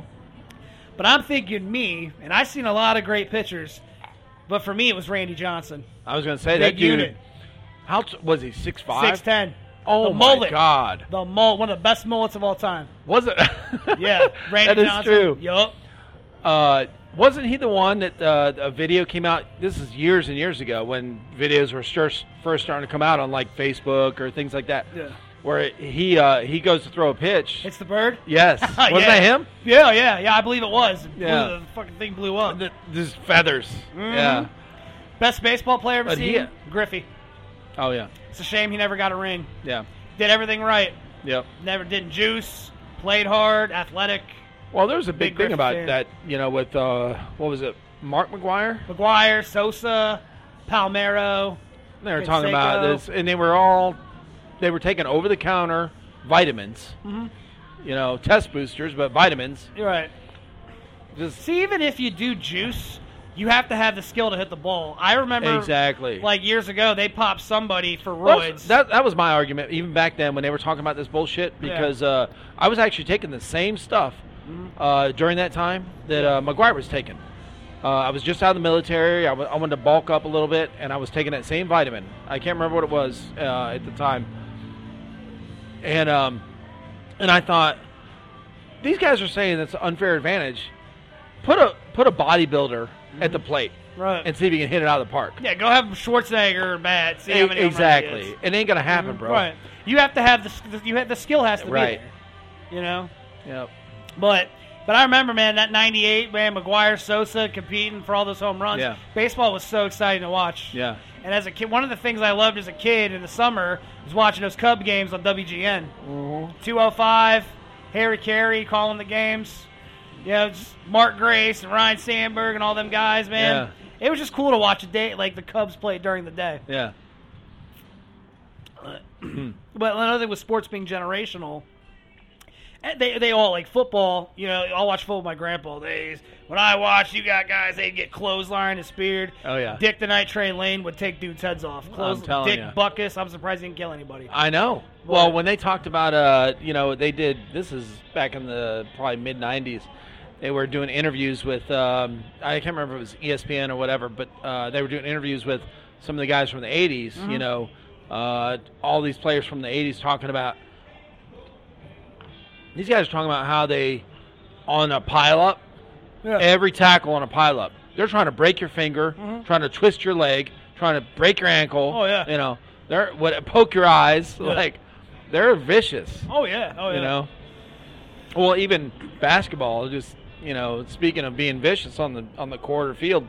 but I'm thinking me, and I've seen a lot of great pitchers, but for me it was Randy Johnson. I was gonna say Big that dude. unit. How t- was he? Six five. Six ten. Oh the my mullet. God! The mullet, one of the best mullets of all time. Was it? Yeah. Randy that is Johnson. true. Yup. Uh, wasn't he the one that uh, a video came out? This is years and years ago when videos were first first starting to come out on like Facebook or things like that. Yeah. Where he uh, he goes to throw a pitch. It's the bird. Uh, yes, Yeah. wasn't that him? Yeah, yeah, yeah. I believe it was. It blew- Yeah. Oh, the Mm-hmm. fucking thing blew up. Th- These feathers. Yeah. Best baseball player ever But seen. he- Griffey. Oh yeah. It's a shame he never got a ring. Yeah. Did everything right. Yep. Never didn't juice. Played hard. Athletic. Well, there was a big, Big thing Griffey about fan. that. You know, with uh, what was it? Mark McGuire. McGuire, Sosa, Palmero. They were Good talking about Seiko. this, and they were all they were taking over the counter vitamins, Mhm. you know, test boosters, but vitamins. You're right. Just See, even if you do juice, you have to have the skill to hit the ball. I remember, exactly. like years ago, they popped somebody for Well, roids. that that was my argument even back then when they were talking about this bullshit Yeah. because uh, I was actually taking the same stuff Mm-hmm. uh, during that time that uh, McGuire was taking. Uh, I was just out of the military. I wa- I wanted to bulk up a little bit, and I was taking that same vitamin. I can't remember what it was uh, at the time, and um, and I thought these guys are saying that's an unfair advantage. Put a put a bodybuilder at the plate Mm-hmm. right. and see if you can hit it out of the park. yeah, go have Schwarzenegger or bat. See how many home runs he E- exactly, hits. it ain't gonna happen, bro. Mm-hmm. Right. You have to have the sk- you have the skill has to Right. be there. You know, Yep. but but I remember, man, that '98 man, McGuire, Sosa competing for all those home runs. Yeah. Baseball was so exciting to watch. Yeah. And as a kid, one of the things I loved as a kid in the summer was watching those Cub games on WGN. 205, Harry Carey calling the games. You know, just Mark Grace and Ryan Sandberg and all them guys, man. It was just cool to watch a day like the Cubs play during the day. Yeah. But another thing with sports being generational, and they they all like football. You know, I'll watch football with my grandpa. Days when I watched, you got guys they'd get clotheslined and speared. Oh, yeah. Dick the Night Train Lane would take dudes' heads off. Close, telling Dick ya. Buckus. I'm surprised he didn't kill anybody. I know. Well, What? when they talked about, uh, you know, they did. This is back in the probably mid '90s. They were doing interviews with. Um, I can't remember if it was E ESPN or whatever, but uh, they were doing interviews with some of the guys from the '80s. You know, uh, all these players from the '80s talking about. These guys are talking about how they, on a pileup, every tackle on a pileup. They're trying to break your finger, Mhm. trying to twist your leg, trying to break your ankle. Oh, yeah. you know they're what poke your eyes Yeah. like they're vicious. Oh yeah. Oh yeah. You know, well even basketball. Just you know, speaking of being vicious on the on the court or field,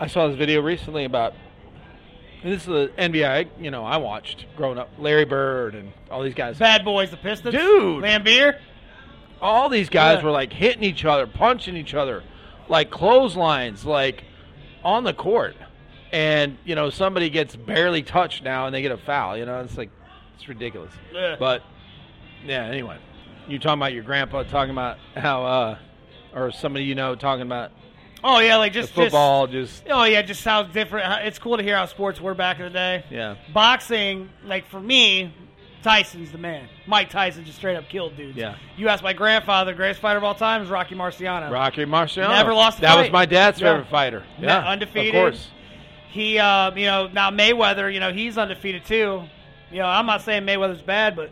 I saw this video recently about. and This is the NBA, you know, I watched growing up. Larry Bird and all these guys. Bad boys, the Pistons. Dude. Lambeer. all these guys Yeah. were like hitting each other, punching each other, like clotheslines, like on the court. And you know somebody gets barely touched now, and they get a foul. You know it's like it's ridiculous. Yeah. But yeah, anyway, you talking about your grandpa talking about how, uh, or somebody you know talking about Oh yeah, like the just just- football, just Oh yeah, just how different. how- It's cool to hear how sports were back in the day. yeah, Boxing, like for me, Tyson's the man. Mike Tyson just straight up killed dudes. Yeah. You ask my grandfather, greatest fighter of all time is Rocky Marciano. Rocky Marciano Never lost a That was fight. my dad's Yeah. favorite fighter. Ne- Yeah, undefeated. Of course. He, uh, you know, now Mayweather, you know, he's undefeated too. You know, I'm not saying Mayweather's bad, but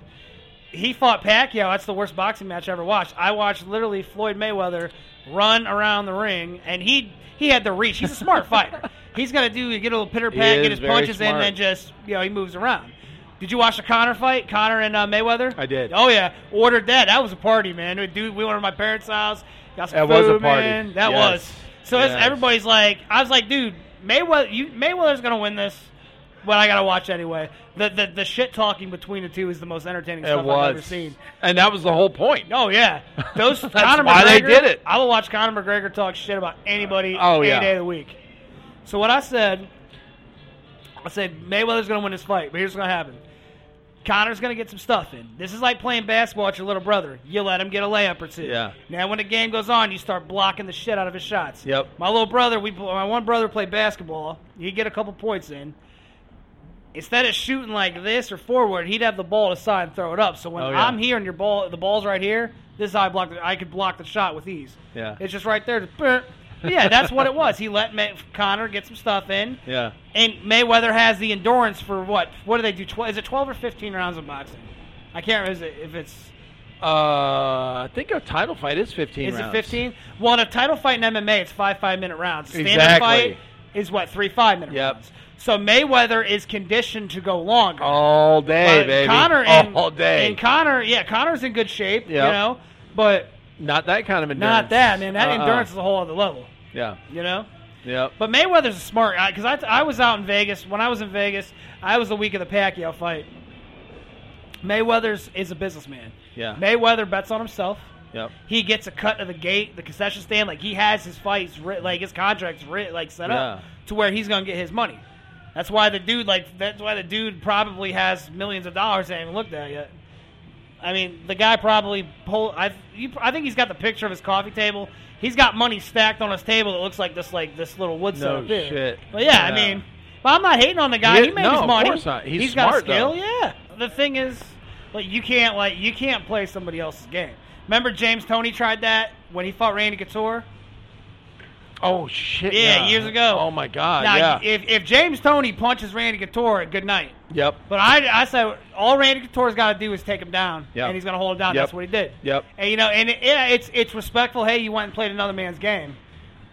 he fought Pacquiao. That's the worst boxing match I ever watched. I watched literally Floyd Mayweather run around the ring, and he he had the reach. He's a smart fighter. He's gonna do get a little pitter He pat, is get his very punches in, smart. and then just you know he moves around. Did you watch the Connor fight, Connor and uh, Mayweather? I did. Oh yeah, ordered that. That was a party, man. We- Dude, we went to my parents' house. Got That some was a food, party. man. That Yes. was. So it's- Yes. everybody everybody's like, I was like, dude, Mayweather, you, Mayweather's gonna win this, but I gotta watch anyway. The the, the shit talking between the two is the most entertaining It stuff was, I've ever seen. and that was the whole point. Oh yeah, those Conor why they McGregor- did it. I will watch Conor McGregor talk shit about anybody Oh, any yeah. day of the week. So what I said, I said Mayweather's gonna win this fight, but here's what's gonna happen: Connor's going to get some stuff in. This is like playing basketball with your little brother. You let him get a layup or two. Yeah. Now, when the game goes on, you start blocking the shit out of his shots. Yep. My little brother, we my one brother played basketball. He'd get a couple points in. Instead of shooting like this or forward, he'd have the ball to side and throw it up. So when Oh, yeah. I'm here and your ball, the ball's right here. This is how I block. The, I could block the shot with ease. Yeah. It's just right there. Just, burp. yeah, that's what it was. He let Ma- Connor get some stuff in. Yeah. And Mayweather has the endurance for what? What do they do? Tw- is it 12 or 15 rounds of boxing? I can't remember is it- if it's. Uh, I think a title fight is 15 Is rounds. it 15? Well, in a title fight in MMA, it's five five minute rounds. A Standard Exactly. fight is what three five minute Yep. rounds. So Mayweather is conditioned to go longer. All day, But baby. Connor and, all day. And Connor, yeah, Connor's in good shape. You Yep. know, but not that kind of endurance. not that man. That Uh-uh. endurance is a whole other level. Yeah. You know. Yep. But Mayweather's a smart guy because I, I was out in Vegas. When I was in Vegas, I was the week of the Pacquiao fight. Mayweather's is a businessman. Yeah. Mayweather bets on himself. Yep. He gets a cut of the gate, the concession stand. Like he has his fights, writ, like his contracts, writ, like set up Yeah. to where he's gonna get his money. That's why the dude, like that's why the dude probably has millions of dollars. They haven't looked at yet. I mean, the guy probably pull. I you, I think he's got the picture of his coffee table. He's got money stacked on his table that looks like this, like this little wood No setup here. shit. But yeah, I Yeah. mean, but I'm not hating on the guy. He- He, made no, his of money. course not. He's got smart, skill. though. Yeah. The thing is, like you can't like you can't play somebody else's game. Remember James Tony tried that when he fought Randy Couture. Oh shit. Yeah, years ago. Oh my god. now, yeah. if if James Tony punches Randy Couture, good night. yep. But I, I said all Randy Couture's got to do is take him down, Yep. and he's going to hold him down. Yep. That's what he did. Yep. And you know, and it, yeah, it's it's respectful. Hey, you went and played another man's game,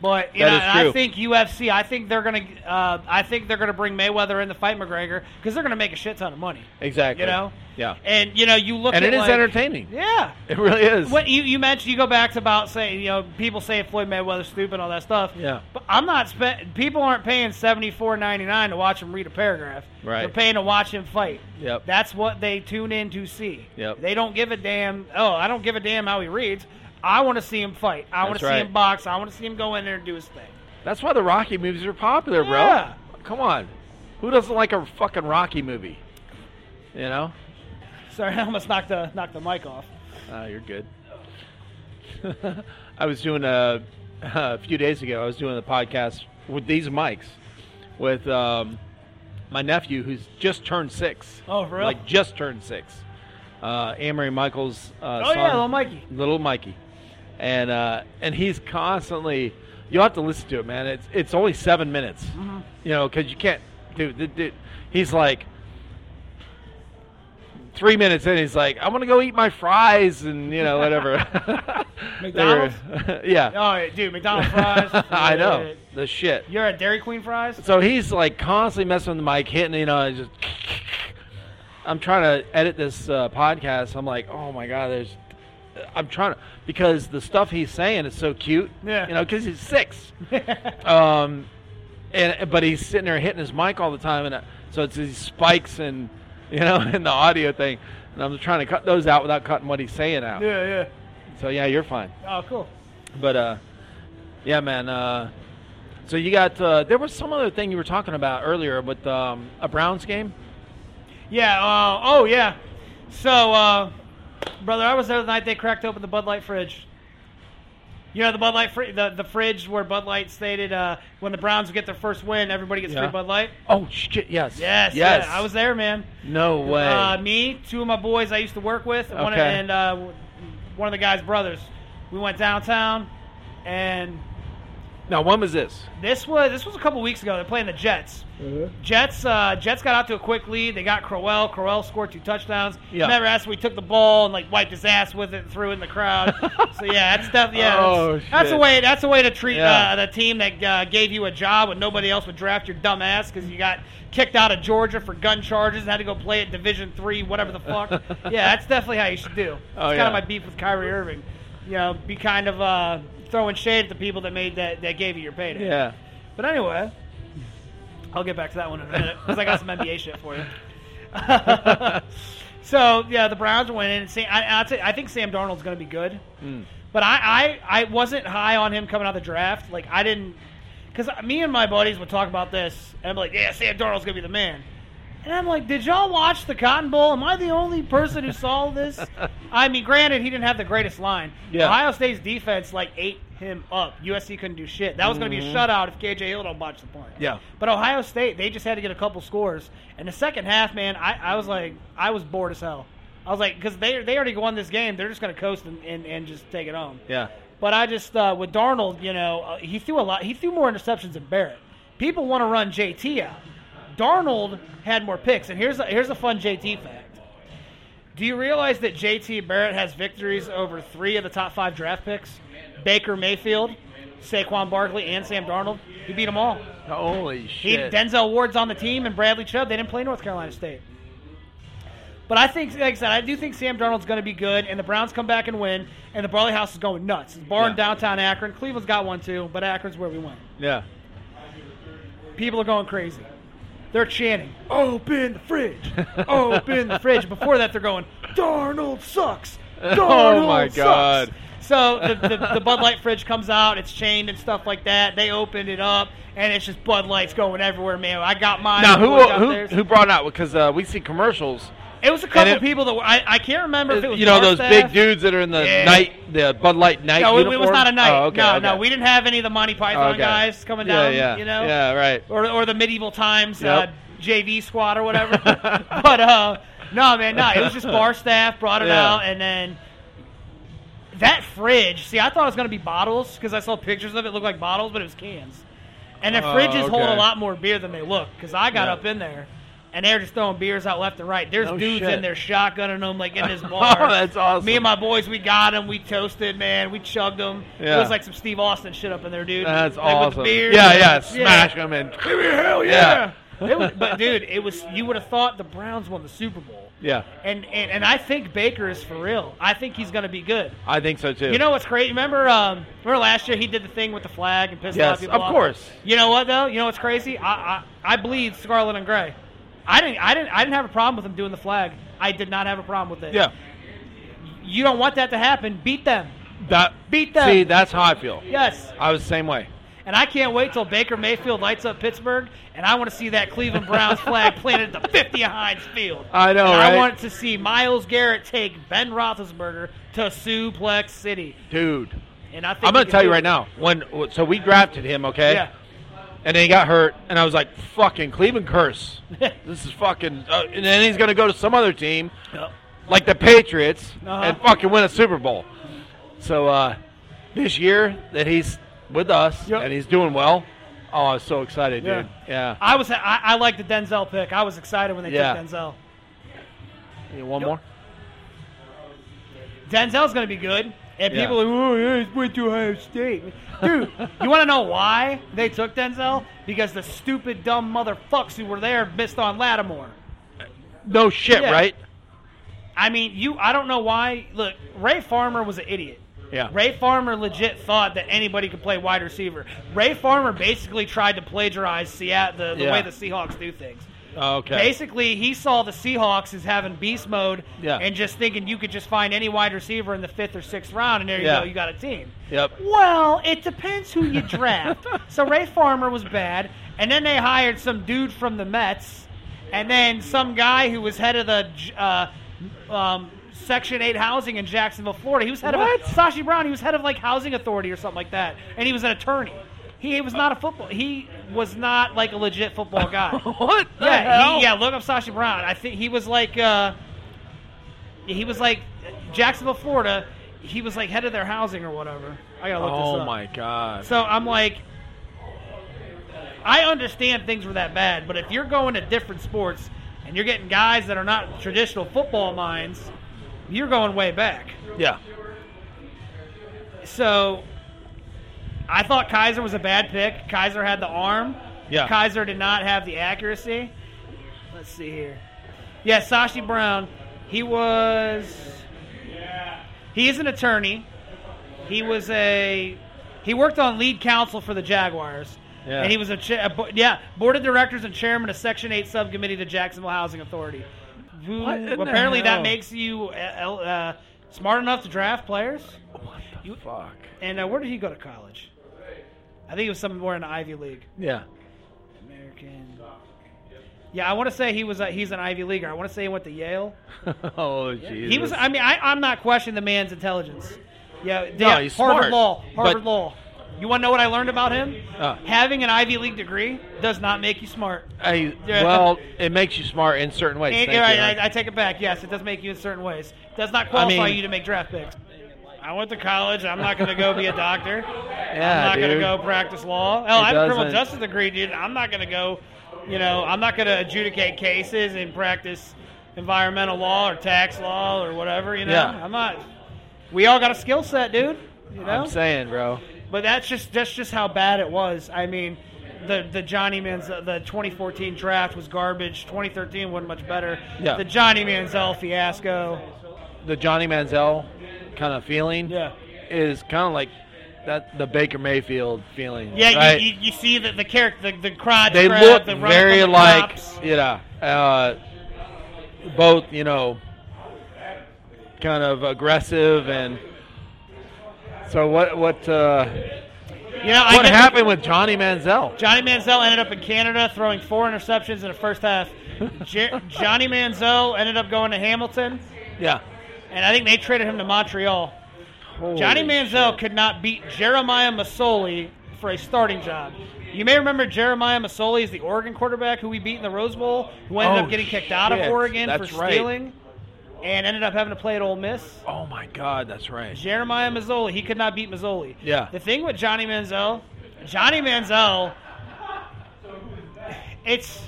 but you That know, is and true. I think UFC. I think they're gonna. Uh, I think they're gonna bring Mayweather in to fight McGregor because they're gonna make a shit ton of money. Exactly. You know. Yeah. And you know, you look And at it is like- entertaining. Yeah. It really is. What you, you mentioned, you go back to about saying, you know, people saying Floyd Mayweather's stupid, all that stuff. Yeah. But I'm not spent. People aren't paying seventy four ninety nine to watch him read a paragraph. Right. They're paying to watch him fight. Yep. That's what they tune in to see. Yep. They don't give a damn. Oh, I don't give a damn how he reads. I want to see him fight. I want That's to right. see him box. I want to see him go in there and do his thing. That's why the Rocky movies are popular, bro. Yeah. Come on. Who doesn't like a fucking Rocky movie? You know? Sorry, I almost knocked the knocked the mic off. Uh, you're good. I was doing a, a few days ago. I was doing a podcast with these mics with um, my nephew who's just turned six. Oh, for real? Like just turned six. Uh, Amory Michaels. Uh, Oh, yeah, son, little Mikey. Little Mikey, and uh, and he's constantly. You have to listen to it, man. It's it's only seven minutes. Mm-hmm. You know, because you can't. Dude, the dude, he's like three minutes in, he's like, I'm gonna go eat my fries and you know whatever. McDonald's? They were- yeah. Oh, dude, McDonald's fries. I know the shit. You're at Dairy Queen fries. So he's like constantly messing with the mic, hitting you know, and just. I'm trying to edit this uh, podcast. I'm like, oh my god, there's. I'm trying to because the stuff he's saying is so cute. Yeah. You know, because he's six. Um, and but he's sitting there hitting his mic all the time, and uh, so it's these spikes and you know in the audio thing, and I'm trying to cut those out without cutting what he's saying out. yeah. So yeah, you're fine. Oh, cool. But uh, yeah, man. Uh, so you got uh, there was some other thing you were talking about earlier with um, a Browns game. Yeah. Uh, oh, yeah. So, uh, brother, I was there the night they cracked open the Bud Light fridge. You know the Bud Light, fr- the the fridge where Bud Light stated uh, when the Browns get their first win, everybody gets Yeah. free Bud Light. Oh shit! Yes. Yes. Yes. Yeah, I was there, man. No way. Uh, me, two of my boys I used to work with, one of, Okay. and uh, w- one of the guys' brothers. We went downtown, and now when was this? this was this was a couple weeks ago. They're playing the Jets. Jets uh, Jets got out to a quick lead. They got Crowell. Crowell scored two touchdowns. Yeah. Remember that's when we took the ball and like wiped his ass with it and threw it in the crowd. so yeah, that's stuff. Yeah, Oh, that's, that's a shit. way. That's a way to treat Yeah. uh, the team that uh, gave you a job when nobody else would draft your dumb ass because you got kicked out of Georgia for gun charges and had to go play at Division three, whatever the fuck. yeah, that's definitely how you should do. It's Oh, kind yeah. of my beef with Kyrie Irving. You know, be kind of uh, throwing shade at the people that made that that gave you your payday. Yeah. But anyway, I'll get back to that one in a minute because I got some NBA shit for you. so yeah, the Browns went in. And Sam, I, I'll tell you, I think Sam Darnold's going to be good, Mm. but I, I I wasn't high on him coming out of the draft. Like I didn't because me and my buddies would talk about this and I'm like, yeah, Sam Darnold's going to be the man. And I'm like, did y'all watch the Cotton Bowl? Am I the only person who saw this? I mean, granted, he didn't have the greatest line. Yeah. Ohio State's defense like ate him up. USC couldn't do shit. That was going to be a shutout if KJ Hill don't botch the punt. Yeah. But Ohio State, they just had to get a couple scores. And the second half, man, I, I was like, I was bored as hell. I was like, because they they already won this game, they're just going to coast and, and and just take it home. Yeah. But I just uh, with Darnold, you know, uh, he threw a lot. He threw more interceptions than Barrett. People want to run JT out. Darnold had more picks, and here's a, here's a fun JT fact. Do you realize that JT Barrett has victories over three of the top five draft picks? Baker Mayfield, Saquon Barkley, and Sam Darnold. He beat them all. Holy He, shit. Denzel Ward's on the team, and Bradley Chubb. They didn't play North Carolina State. But I think, like I said, I do think Sam Darnold's going to be good, and the Browns come back and win, and the Barley House is going nuts. It's bar in Yeah. downtown Akron. Cleveland's got one too, but Akron's where we went. yeah. People are going crazy. They're chanting, "Open the fridge, open the fridge." Before that, they're going, "Darnold sucks." Oh, Darnold my sucks." God. So the, the, the Bud Light fridge comes out. It's chained and stuff like that. They opened it up, and it's just Bud Lights going everywhere, man. I got mine. Now Boy got who who, theirs. who brought out because uh, we see commercials. It was a couple and it- people that were. I, I can't remember if it was You know our those staff. big dudes that are in the Yeah. night, the Bud Light night. No, it- it, was uniform? not a night. Oh, okay, no, okay. Oh, no, we didn't have any of the Monty Python Okay. guys coming Yeah, down. yeah, you know, yeah, right. or or the medieval times Yep. uh, JV squad or whatever. but uh, no, man, no, it was just bar staff brought it Yeah. out, and then that fridge. See, I thought it was gonna be bottles because I saw pictures of it. Looked like bottles, but it was cans. And the Oh, fridges hold okay. a lot more beer than they look because I got Yeah. up in there. And they're just throwing beers out left and right. There's No dudes shit. in there shotgunning them like in this bar. Oh, that's awesome. Me and my boys, we got them. We toasted, man. We chugged them. Yeah. It was like some Steve Austin shit up in there, dude. That's like awesome. With the beer, yeah, yeah, smash them and hell yeah, It was, but dude, it was you would have thought the Browns won the Super Bowl. yeah. And, and and I think Baker is for real. I think he's going to be good. I think so too. You know what's crazy? Remember, um, remember last year he did the thing with the flag and pissed a lot yes, of people of off? course. You know what though? You know what's crazy? I I, I bleed scarlet and gray. I didn't I didn't I didn't have a problem with him doing the flag. I did not have a problem with it. Yeah, You don't want that to happen. Beat them. that Beat them. See, that's how I feel. Yes. I was the same way. And I can't wait till Baker Mayfield lights up Pittsburgh, and I want to see that Cleveland Browns flag planted at the 50 of Heinz Field. I know, And right? I want to see Miles Garrett take Ben Roethlisberger to Suplex City. Dude, And I think I'm he going to can tell you do right it. now. When so we drafted him, okay? Yeah. And then he got hurt, and I was like, "Fucking Cleveland curse! this is fucking." Uh, and then he's going to go to some other team, like the Patriots, Uh-huh. and fucking win a Super Bowl. So uh, this year that he's with us Yep. and he's doing well, oh, I was so excited, Yeah. dude. Yeah. I was I, I like the Denzel pick. I was excited when they Yeah. took Denzel. You want one more? Denzel's going to be good. And Yeah. people are like, oh, yeah, he's went to Ohio State. Dude, you want to know why they took Denzel? Because the stupid, dumb motherfucks who were there missed on Lattimore. No shit, Yeah. right? I mean, you. I don't know why. Look, Ray Farmer was an idiot. Yeah. Ray Farmer legit thought that anybody could play wide receiver. Ray Farmer basically tried to plagiarize Seattle, the, the Yeah. way the Seahawks do things. Oh, Okay. Basically, he saw the Seahawks as having beast mode Yeah. and just thinking you could just find any wide receiver in the fifth or sixth round, and there you Yeah. go, you got a team. Yep. Well, it depends who you draft. so Ray Farmer was bad, and then they hired some dude from the Mets, and then some guy who was head of the uh, um, Section 8 housing in Jacksonville, Florida. He was head What? of a, Sashi Brown. He was head of like housing authority or something like that, and he was an attorney. He was not a football. He was not like a legit football guy. what? the Yeah, hell? he, yeah. Look up Sasha Brown. I think he was like, uh, he was like Jacksonville, Florida. He was like head of their housing or whatever. I gotta look this Oh up. my god. So I'm like, I understand things were that bad, but if you're going to different sports and you're getting guys that are not traditional football minds, you're going way back. yeah. So I thought Kaiser was a bad pick. Kaiser had the arm. Yeah. Kaiser did not have the accuracy. Let's see here. Yeah, Sashi Brown. He was. He is an attorney. He was a. He worked on lead counsel for the Jaguars. Yeah. And he was a, cha- a bo- yeah board of directors and chairman of Section Eight subcommittee to Jacksonville Housing Authority. Who- What in the apparently hell? that makes you uh, uh, smart enough to draft players. What the You- fuck? And uh, where did he go to college? I think it was somewhere in the Ivy League. Yeah. American. Yeah, I want to say he was a, he's an Ivy leaguer. I want to say he went to Yale. oh, Jesus. He was. I mean, I, I'm not questioning the man's intelligence. Yeah, yeah, he's Harvard smart, Law. but- Harvard Law. You want to know what I learned about him? Uh. Having an Ivy League degree does not make you smart. I- Yeah. well, it makes you smart in certain ways. And- Thank you, right, Ryan. I, I take it back. Yes, it does make you in certain ways. It does not qualify mean- you to make draft picks. I went to college. I'm not going to go be a doctor. Yeah, I'm not going to dude. go practice law. Hell, It I have a criminal doesn't- justice degree, dude. I'm not going to go, you know, I'm not going to adjudicate cases and practice environmental law or tax law or whatever, you know? Yeah. I'm not. We all got a skill set, dude. You know? I'm saying, bro. But that's just that's just how bad it was. I mean, the the Johnny Manziel, the 2014 draft was garbage. 2013 wasn't much better. Yeah. The Johnny Manziel fiasco. The Johnny Manziel kind of feeling Yeah. is kind of like that the Baker Mayfield feeling. Yeah, right? you, you, you see the the character, the, the crowd. they crowd, look the running very from the like cops. you know uh, both you know kind of aggressive and so what what uh, You know, I what get- happened with Johnny Manziel? Johnny Manziel ended up in Canada throwing four interceptions in the first half. Jer- Johnny Manziel ended up going to Hamilton, Yeah, and I think they traded him to Montreal. Johnny Holy Manziel could not beat Jeremiah Masoli for a starting job. You may remember Jeremiah Masoli is the Oregon quarterback who we beat in the Rose Bowl, who ended Oh, up getting kicked out of shit. Oregon That's for right. stealing and ended up having to play at Ole Miss. Oh my God, that's right. Jeremiah Mazzoli, he could not beat Mazzoli. Yeah. The thing with Johnny Manziel, Johnny Manziel, it's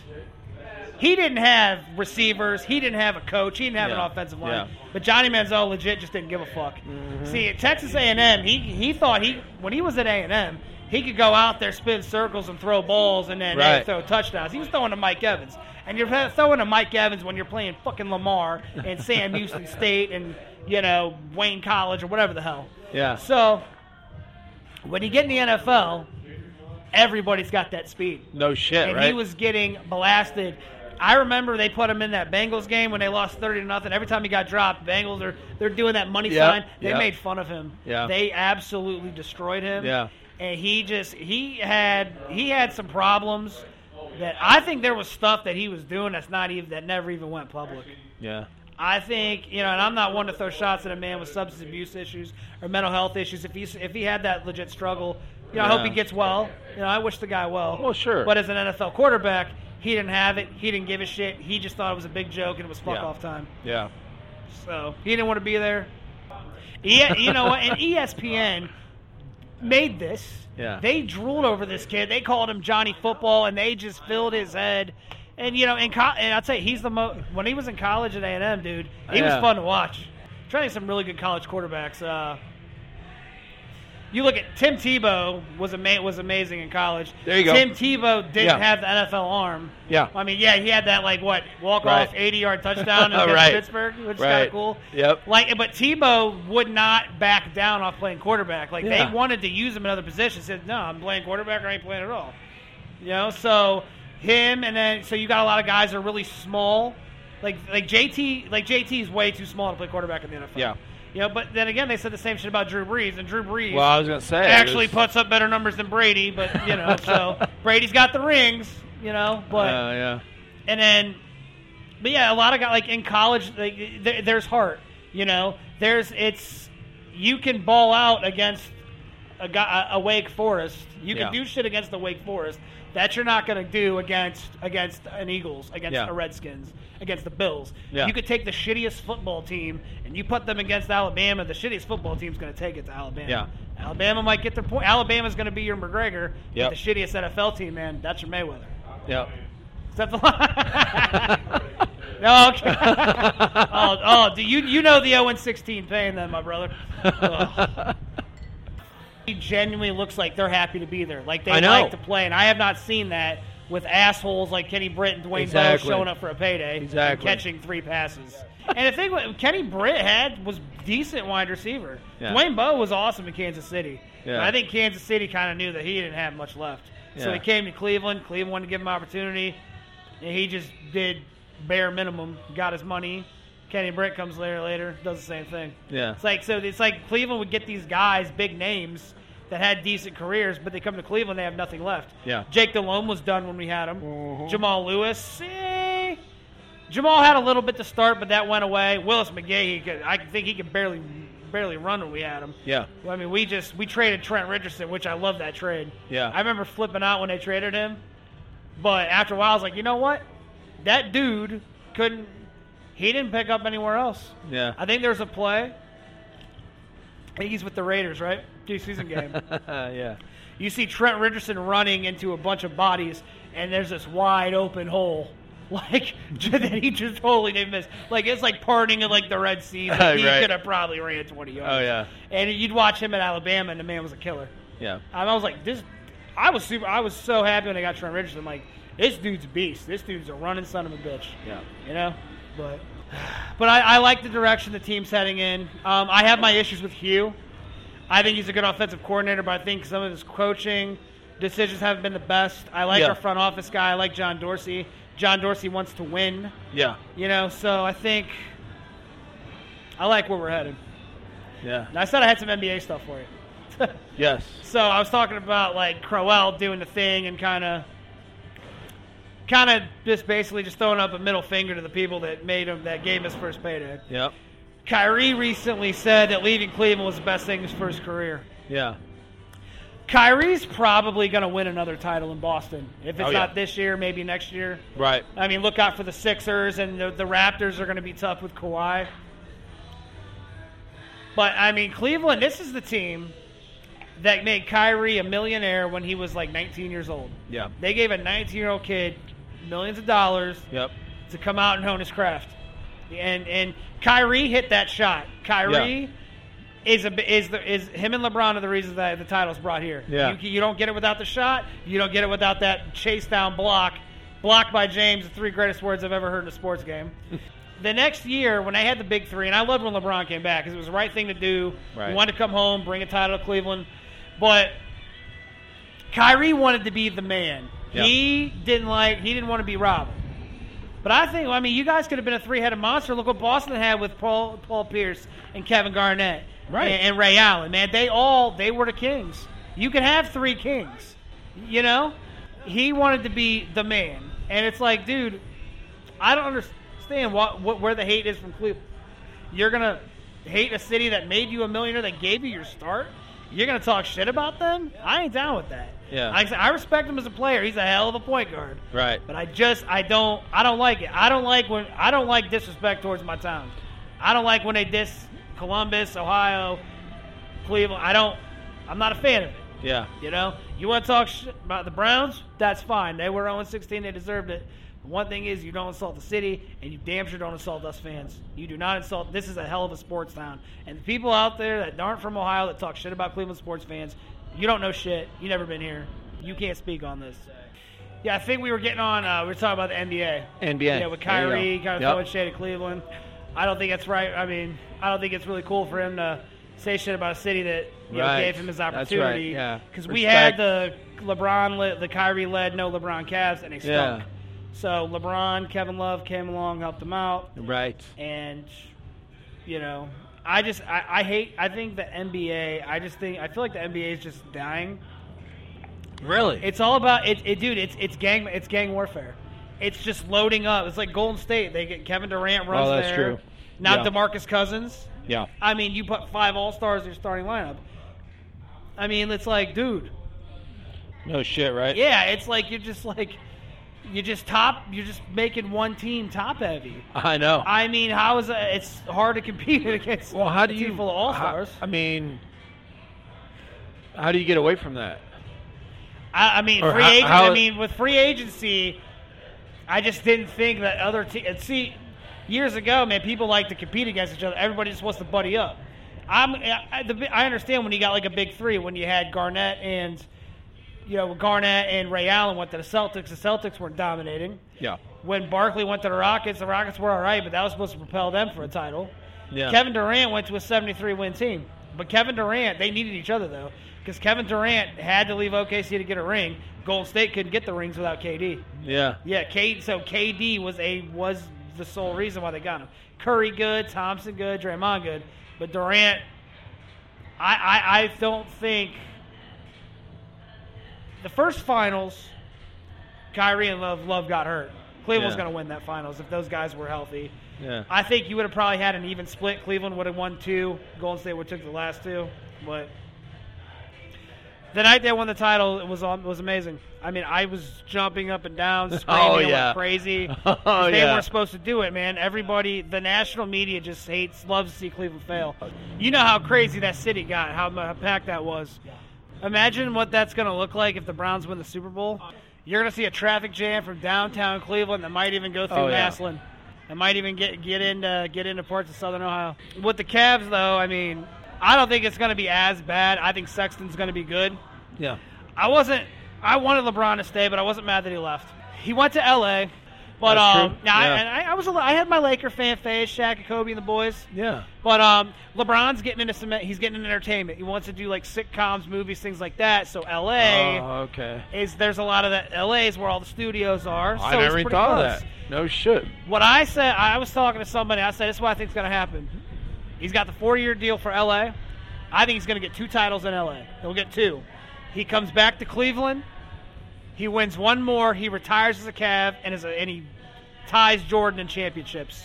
he didn't have receivers, he didn't have a coach, he didn't have Yeah. an offensive line. Yeah. Mm-hmm. But Johnny Manziel legit just didn't give a fuck. See, at Texas A&M, he he thought he when he was at A&M, he could go out there, spin circles, and throw balls, and then Right. they'd throw touchdowns. He was throwing to Mike Evans, and you're throwing to Mike Evans when you're playing fucking Lamar and Sam Houston State and you know Wayne College or whatever the hell. Yeah, So when you get in the NFL, everybody's got that speed. no shit, And right? he was getting blasted. I remember they put him in that Bengals game when they lost thirty to nothing. Every time he got dropped, Bengals are they're doing that money Yeah, sign. They yeah. made fun of him. Yeah. They absolutely destroyed him. Yeah. And he just he had he had some problems that I think there was stuff that he was doing that's not even that never even went public. yeah, I think you know, and I'm not one to throw shots at a man with substance abuse issues or mental health issues. If he's if he had that legit struggle, you know, I hope Yeah. he gets well. You know, I wish the guy well. Well, sure. But as an NFL quarterback, he didn't have it. He didn't give a shit. He just thought it was a big joke and it was fuck Yeah. off time. yeah, So he didn't want to be there. Yeah, you know what? And E ESPN made this. Yeah. They drooled over this kid. They called him Johnny Football, and they just filled his head. And you know, in co- and I'd say he's the most. When he was in college at A and M, dude, he Yeah. was fun to watch. Trying some really good college quarterbacks. Uh, you look at Tim Tebow was ama- was amazing in college. There you go. Tim Tebow Yeah. didn't have the NFL arm. Yeah. I mean, yeah, he had that like what walk Right. off eighty yard touchdown against Right. Pittsburgh, which is kind Right. of cool. Yep. Like, but Tebow would not back down off playing quarterback. Like Yeah. they wanted to use him in other positions. Said, no, I'm playing quarterback or I ain't playing at all. You know, so him and then so you got a lot of guys that are really small. Like like JT like JT is way too small to play quarterback in the NFL. Yeah. You know, but then again they said the same shit about Drew Brees and Drew Brees Well, I was gonna say it actually was- uh, puts up better numbers than Brady, but you know, so Brady's got the rings, you know, but uh, yeah, and then, but yeah, a lot of guys like in college, like there, there's heart. You know, there's it's you can ball out against a guy, a Wake Forest. You Yeah. can do shit against the Wake Forest that you're not going to do against against an Eagles, against Yeah. a Redskins, against the Bills. Yeah. You could take the shittiest football team and you put them against Alabama. The shittiest football team's going to take it to Alabama. Yeah. Alabama might get their point. Alabama's going to be your McGregor. but Yep. The shittiest NFL team, man. That's your Mayweather. yeah. Except the no, okay. oh, oh, do you you know the 0 and 16 pain then, my brother? Ugh. He genuinely looks like they're happy to be there, like they I know. like to play, and I have not seen that with assholes like Kenny Britt and Dwayne Exactly. Bowe showing up for a payday and Exactly. catching three passes. And the thing what Kenny Britt had was decent wide receiver. Yeah. Dwayne Bowe was awesome in Kansas City. Yeah. But I think Kansas City kind of knew that he didn't have much left, so Yeah. he came to Cleveland. Cleveland wanted to give him opportunity. And he just did bare minimum, got his money. Kenny Britt comes later, later, does the same thing. Yeah. It's like so. It's like Cleveland would get these guys, big names that had decent careers, but they come to Cleveland, they have nothing left. Yeah. Jake Delhomme was done when we had him. Jamal Lewis, eh, Jamal had a little bit to start, but that went away. Willis McGay, he could, I think he could barely barely run when we had him. Yeah. Well, I mean, we just we traded Trent Richardson, which I love that trade. Yeah. I remember flipping out when they traded him, but after a while, I was like, you know what? That dude couldn't. He didn't pick up anywhere else. Yeah. I think there's a play. I think he's with the Raiders, right? Preseason game. yeah. you see Trent Richardson running into a bunch of bodies, and there's this wide open hole. Like that he just totally didn't miss. Like it's like parting of like the Red Sea. Like, he Right. could have probably ran 20 yards. Oh, yeah. And you'd watch him at Alabama, and the man was a killer. Yeah. And I was like, this. I was super. I was so happy when I got Trent Richardson. I'm like, this dude's a beast. This dude's a running son of a bitch. Yeah. You know, but but I, I like the direction the team's heading in. Um, I have my issues with Hugh. I think he's a good offensive coordinator, but I think some of his coaching decisions haven't been the best. I like Yeah. our front office guy. I like John Dorsey. John Dorsey wants to win. Yeah. You know, so I think I like where we're headed. Yeah. And I said I had some NBA stuff for you. Yes. So I was talking about like Crowell doing the thing and kind of, kind of just basically just throwing up a middle finger to the people that made him that gave him his first payday. Yep. Kyrie recently said that leaving Cleveland was the best thing for his career. Yeah. Kyrie's probably going to win another title in Boston. If it's Oh, yeah. not this year, maybe next year. Right. I mean, look out for the Sixers and the, the Raptors are going to be tough with Kawhi. But I mean, Cleveland. This is the team that made Kyrie a millionaire when he was like 19 years old. Yeah. They gave a 19-year-old kid millions of dollars Yep. to come out and hone his craft, and and Kyrie hit that shot. Kyrie. Is a is the is him and LeBron are the reasons that the title's brought here. Yeah. you, you don't get it without the shot. You don't get it without that chase down block, blocked by James. The three greatest words I've ever heard in a sports game. the next year when I had the big three, and I loved when LeBron came back because it was the right thing to do. Right. He wanted to come home, bring a title to Cleveland, but Kyrie wanted to be the man. Yeah. He didn't like. He didn't want to be Robin. But I think, I mean, you guys could have been a three-headed monster. Look what Boston had with Paul Paul Pierce and Kevin Garnett, Right. And, and Ray Allen. Man, they all they were the kings. You can have three kings. You know, he wanted to be the man, and it's like, dude, I don't understand what, what where the hate is from Cleveland. You're gonna hate a city that made you a millionaire, that gave you your start. You're gonna talk shit about them. I ain't down with that. Yeah. Like I said, I respect him as a player. He's a hell of a point guard. Right. But I just I don't I don't like it. I don't like when I don't like disrespect towards my town. I don't like when they diss Columbus, Ohio, Cleveland. I don't. I'm not a fan of it. Yeah. You know, you want to talk shit about the Browns? That's fine. They were 0 16. They deserved it. The one thing is, you don't insult the city, and you damn sure don't insult us fans. You do not insult. This is a hell of a sports town, and the people out there that aren't from Ohio that talk shit about Cleveland sports fans, you don't know shit. You never been here. You can't speak on this. Yeah, I think we were getting on. Uh, we were talking about the NBA. NBA. Yeah, with There you go. Kyrie kind of Yep. throwing shade at Cleveland. I don't think that's right. I mean, I don't think it's really cool for him to say shit about a city that you know, Right. gave him his That's right, opportunity. yeah. Because we Respect. had the LeBron, led, the Kyrie led, no LeBron Cavs, and they Yeah. stunk. So LeBron, Kevin Love came along, helped him out, Right. and you know, I just I, I hate. I think the NBA. I just think I feel like the NBA is just dying. Really? It's all about it, it dude. It's it's gang it's gang warfare. It's just loading up. It's like Golden State. They get Kevin Durant runs Oh, that's there. true. Now Yeah. DeMarcus Cousins. yeah. I mean, you put five All Stars in your starting lineup. I mean, it's like, dude. No shit, right? Yeah, it's like you're just like you just top. You're just making one team top heavy. I know. I mean, how is that? It's hard to compete against. well, how a do team you full of All Stars? I mean, how do you get away from that? I, I mean, Or free how- agent. how- I mean, with free agency, I just didn't think that other teams. See, years ago, man, people like to compete against each other. Everybody just wants to buddy up. I'm. I, I- the, bi- I understand when you got like a big three when you had Garnett and, you know, Garnett and Ray Allen went to the Celtics. The Celtics weren't dominating. Yeah. When Barkley went to the Rockets, the Rockets were all right, but that was supposed to propel them for a title. Yeah. Kevin Durant went to a 73 win team. But Kevin Durant, they needed each other, though, because Kevin Durant had to leave OKC to get a ring. Golden State couldn't get the rings without KD. Yeah. Yeah, K, so KD was a was the sole reason why they got him. Curry good, Thompson good, Draymond good, but Durant, I, I, I don't think the first finals, Kyrie and Love Love got hurt. Cleveland's Yeah. going to win that finals if those guys were healthy. Yeah. I think you would have probably had an even split. Cleveland would have won two. Golden State would have took the last two. But the night they won the title, it was on, was amazing. I mean, I was jumping up and down, screaming Oh, like yeah. crazy. Oh, 'Cause they yeah. weren't supposed to do it, man. Everybody, the national media just hates, loves to see Cleveland fail. You know how crazy that city got, how mu- how packed that was. Imagine what that's going to look like if the Browns win the Super Bowl. You're going to see a traffic jam from downtown Cleveland that might even go through Oh, yeah. Maslin. It might even get get into get into parts of Southern Ohio. With the Cavs, though, I mean, I don't think it's going to be as bad. I think Sexton's going to be good. Yeah. I wasn't. I wanted LeBron to stay, but I wasn't mad that he left. He went to LA, but That's um, true. now I, Yeah. and I, I was a, I had my Laker fan phase, Shaq and Kobe and the boys. Yeah. But um, LeBron's getting into some. He's getting into entertainment. He wants to do like sitcoms, movies, things like that. So LA Oh, okay. is there's a lot of that. LA is where all the studios are. I so it's never even pretty thought close. of that. No shit. What I said, I was talking to somebody. I said, "This is what I think is going to happen. He's got the four-year deal for LA. I think he's going to get two titles in LA. He'll get two. He comes back to Cleveland. He wins one more. He retires as a Cav, and is a, and he ties Jordan in championships.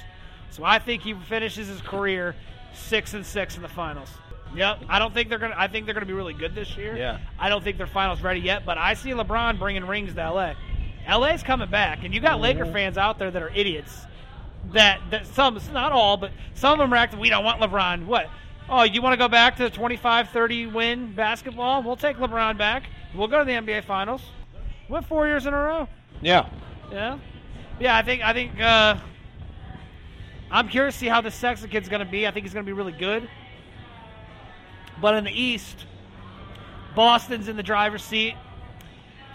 So I think he finishes his career six and six in the finals. Yep. I don't think they're gonna. I think they're gonna be really good this year. Yeah. I don't think they're finals ready yet, but I see LeBron bringing rings to LA. LA's coming back, and you got Laker fans out there that are idiots. That that some, not all, but some of them are acting. We don't want LeBron. What? Oh, you want to go back to the 25-30 win basketball? We'll take LeBron back. We'll go to the NBA Finals. Went four years in a row. Yeah. Yeah, yeah. I think I think uh, I'm curious to see how the Sexton kid's going to be. I think he's going to be really good. But in the East, Boston's in the driver's seat.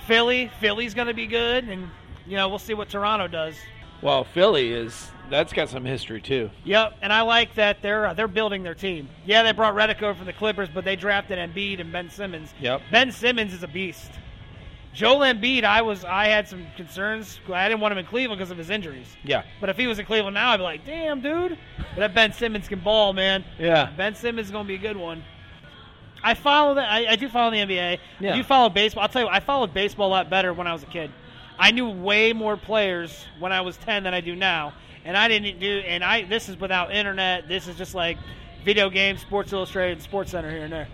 Philly, Philly's going to be good, and you know we'll see what Toronto does. Well, Philly is that's got some history too. Yep, and I like that they're uh, they're building their team. Yeah, they brought Redick over from the Clippers, but they drafted Embiid and Ben Simmons. Yep. Ben Simmons is a beast. Joel Embiid, I was I had some concerns. I didn't want him in Cleveland because of his injuries. Yeah. But if he was in Cleveland now, I'd be like, damn, dude. But that Ben Simmons can ball, man. Yeah. Ben Simmons is going to be a good one. I follow that. I, I do follow the NBA. Yeah. I do follow baseball. I'll tell you, what, I followed baseball a lot better when I was a kid. I knew way more players when I was 10 than I do now. And I didn't do, and I, this is without internet. This is just like video games, Sports Illustrated, Sports Center here and there.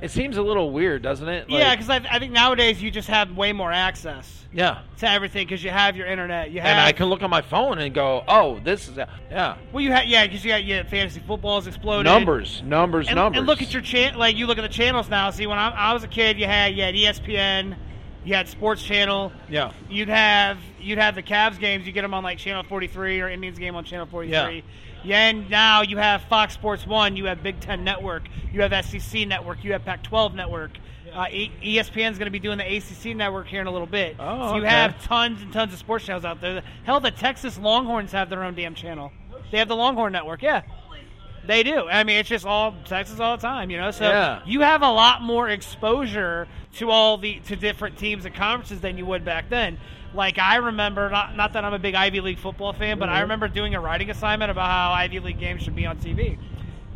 It seems a little weird, doesn't it? Yeah, 'cause yeah, because I, I think nowadays you just have way more access yeah. to everything because you have your internet. You have, And I can look on my phone and go, "Oh, this is a, yeah." well, you had, yeah, because you got yeah, fantasy football's exploded. Numbers, numbers, and, numbers. and look at your channel. Like you look at the channels now. See, when I, I was a kid, you had you had E ESPN, you had Sports Channel. yeah. You'd have you'd have the Cavs games. You get them on like Channel 43 or Indians game on Channel 43. Yeah. and now you have Fox Sports One. You have Big Ten Network. You have SEC Network. You have Pac-12 Network. Uh, e- ESPN's going to be doing the ACC network here in a little bit. Oh, so you okay. have tons and tons of sports channels out there. Hell, the Texas Longhorns have their own damn channel. They have the Longhorn Network. Yeah. They do. I mean, it's just all Texas all the time, you know. So Yeah. you have a lot more exposure to all the to different teams and conferences than you would back then. Like I remember, not not that I'm a big Ivy League football fan, but I Mhm. remember doing a writing assignment about how Ivy League games should be on TV.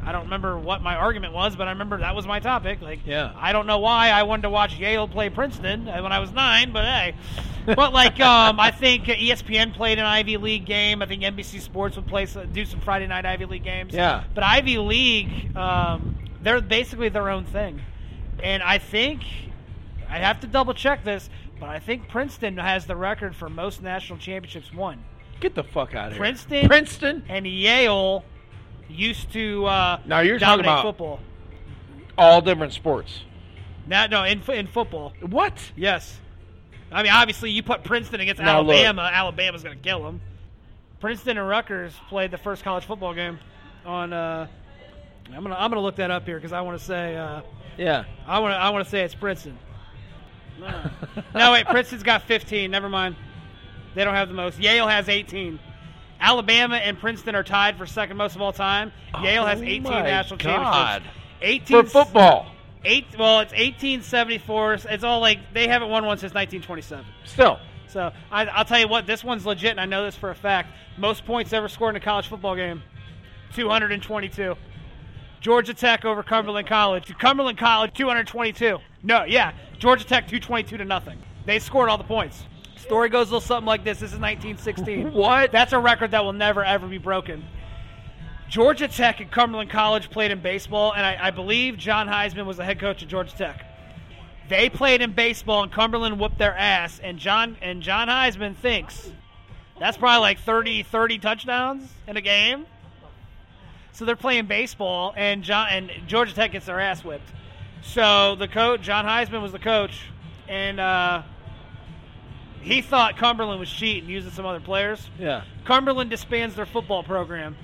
I don't remember what my argument was, but I remember that was my topic. Like, Yeah. I don't know why I wanted to watch Yale play Princeton uh, when I was nine, but hey. But like, um, I think ESPN played an Ivy League game. I think NBC Sports would play some- do some Friday night Ivy League games. Yeah. But Ivy League, um, they're basically their own thing, and I think I have to double check this, but I think Princeton has the record for most national championships won. Get the fuck out of here. Princeton- Princeton. And Yale used to uh, Now you're talking dominate about- football. All different sports. No, no, in fo- in football. What? Yes. I mean, obviously, you put Princeton against Now look. Alabama. Alabama's going to kill them. Princeton and Rutgers played the first college football game on. Uh, I'm gonna I'm gonna look that up here because I want to say uh, Yeah. I want to I want to say it's Princeton. No. no, wait, Princeton's got 15. Never mind. They don't have the most. Yale has 18. Alabama and Princeton are tied for second most of all time. Yale has Oh 18 my national God. championships. 18 For football, Eight. Well, it's 1874. It's all like they haven't won one since 1927. still. So I, I'll tell you what, this one's legit, and I know this for a fact. Most points ever scored in a college football game, 222. Georgia Tech over Cumberland College. Cumberland College, 222. No, yeah, Georgia Tech, 222 to nothing. They scored all the points. Story goes a little something like this. This is 1916. What? That's a record that will never ever be broken. Georgia Tech and Cumberland College played in baseball, and I, I believe John Heisman was the head coach of Georgia Tech. They played in baseball, and Cumberland whooped their ass. And John and John Heisman thinks that's probably like 30, 30 touchdowns in a game. So they're playing baseball, and John and Georgia Tech gets their ass whipped. So the coach, John Heisman, was the coach, and uh, he thought Cumberland was cheating using some other players. Yeah. Cumberland disbands their football program,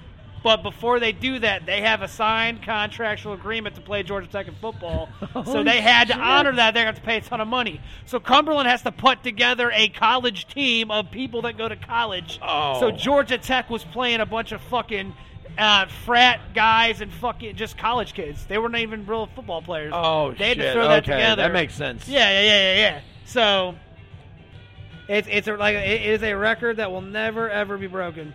but before they do that, they have a signed contractual agreement to play Georgia Tech in football. so Holy they had shit. to honor that. They're going to pay a ton of money. So Cumberland has to put together a college team of people that go to college. Oh. So Georgia Tech was playing a bunch of fucking. Uh, frat guys and fucking just college kids. They weren't even real football players. Oh they shit. had to throw that okay, together. that makes sense. Yeah, yeah, yeah, yeah, yeah. So it's it's a, like it is a record that will never ever be broken.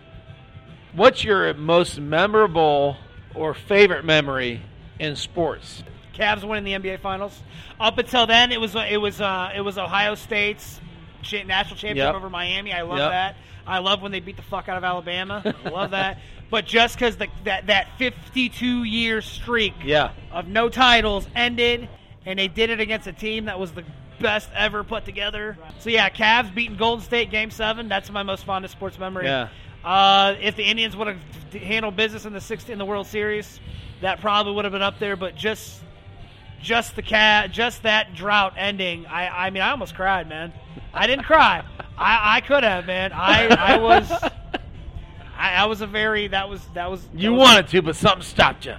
What's your most memorable or favorite memory in sports? Cavs winning the NBA Finals. Up until then, it was it was uh, it was Ohio State's cha- national championship Yep. over Miami. I love Yep. that. I love when they beat the fuck out of Alabama. I love that. But just because that that 52 year streak Yeah. of no titles ended, and they did it against a team that was the best ever put together. So yeah, Cavs beating Golden State Game Seven. That's my most fondest sports memory. Yeah. Uh, if the Indians would have d- handled business in the sixth in the World Series, that probably would have been up there. But just just the cat, just that drought ending. I I mean, I almost cried, man. I didn't cry. I, I could have, man. I, I was I, I was a very that was that was that You was- wanted to, but something stopped you.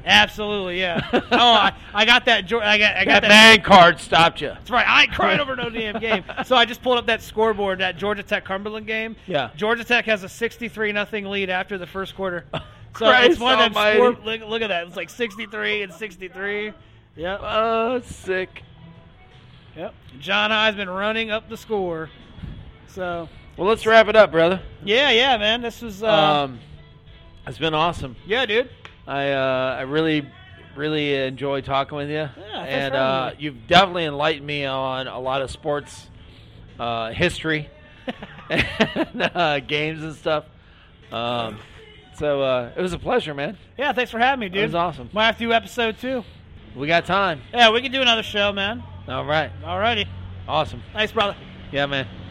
Absolutely, yeah. oh, I, I got that. Jor- I got, I got That that. man card stopped you. That's right. I ain't cried over no damn game. So I just pulled up that scoreboard, that Georgia Tech Cumberland game. Yeah. Georgia Tech has a 63 nothing lead after the first quarter. So Christ it's one of them. Score- almighty. look, look at that. It's like 63 and 63. Yep. Oh, sick. Yep. John Heisman running up the score. So Well, let's wrap it up, brother. yeah, yeah, man. This was. Uh, Um, it's been awesome. yeah, dude. I uh, I really really enjoy talking with you, thanks and for having uh, me. you've definitely enlightened me on a lot of sports uh, history and uh, games and stuff. Um, so uh, it was a pleasure, man. Yeah, thanks for having me, dude. It was awesome. Might have to do episode two. We got time. Yeah, we can do another show, man. All right, Alrighty. awesome. Nice, brother. Yeah, man.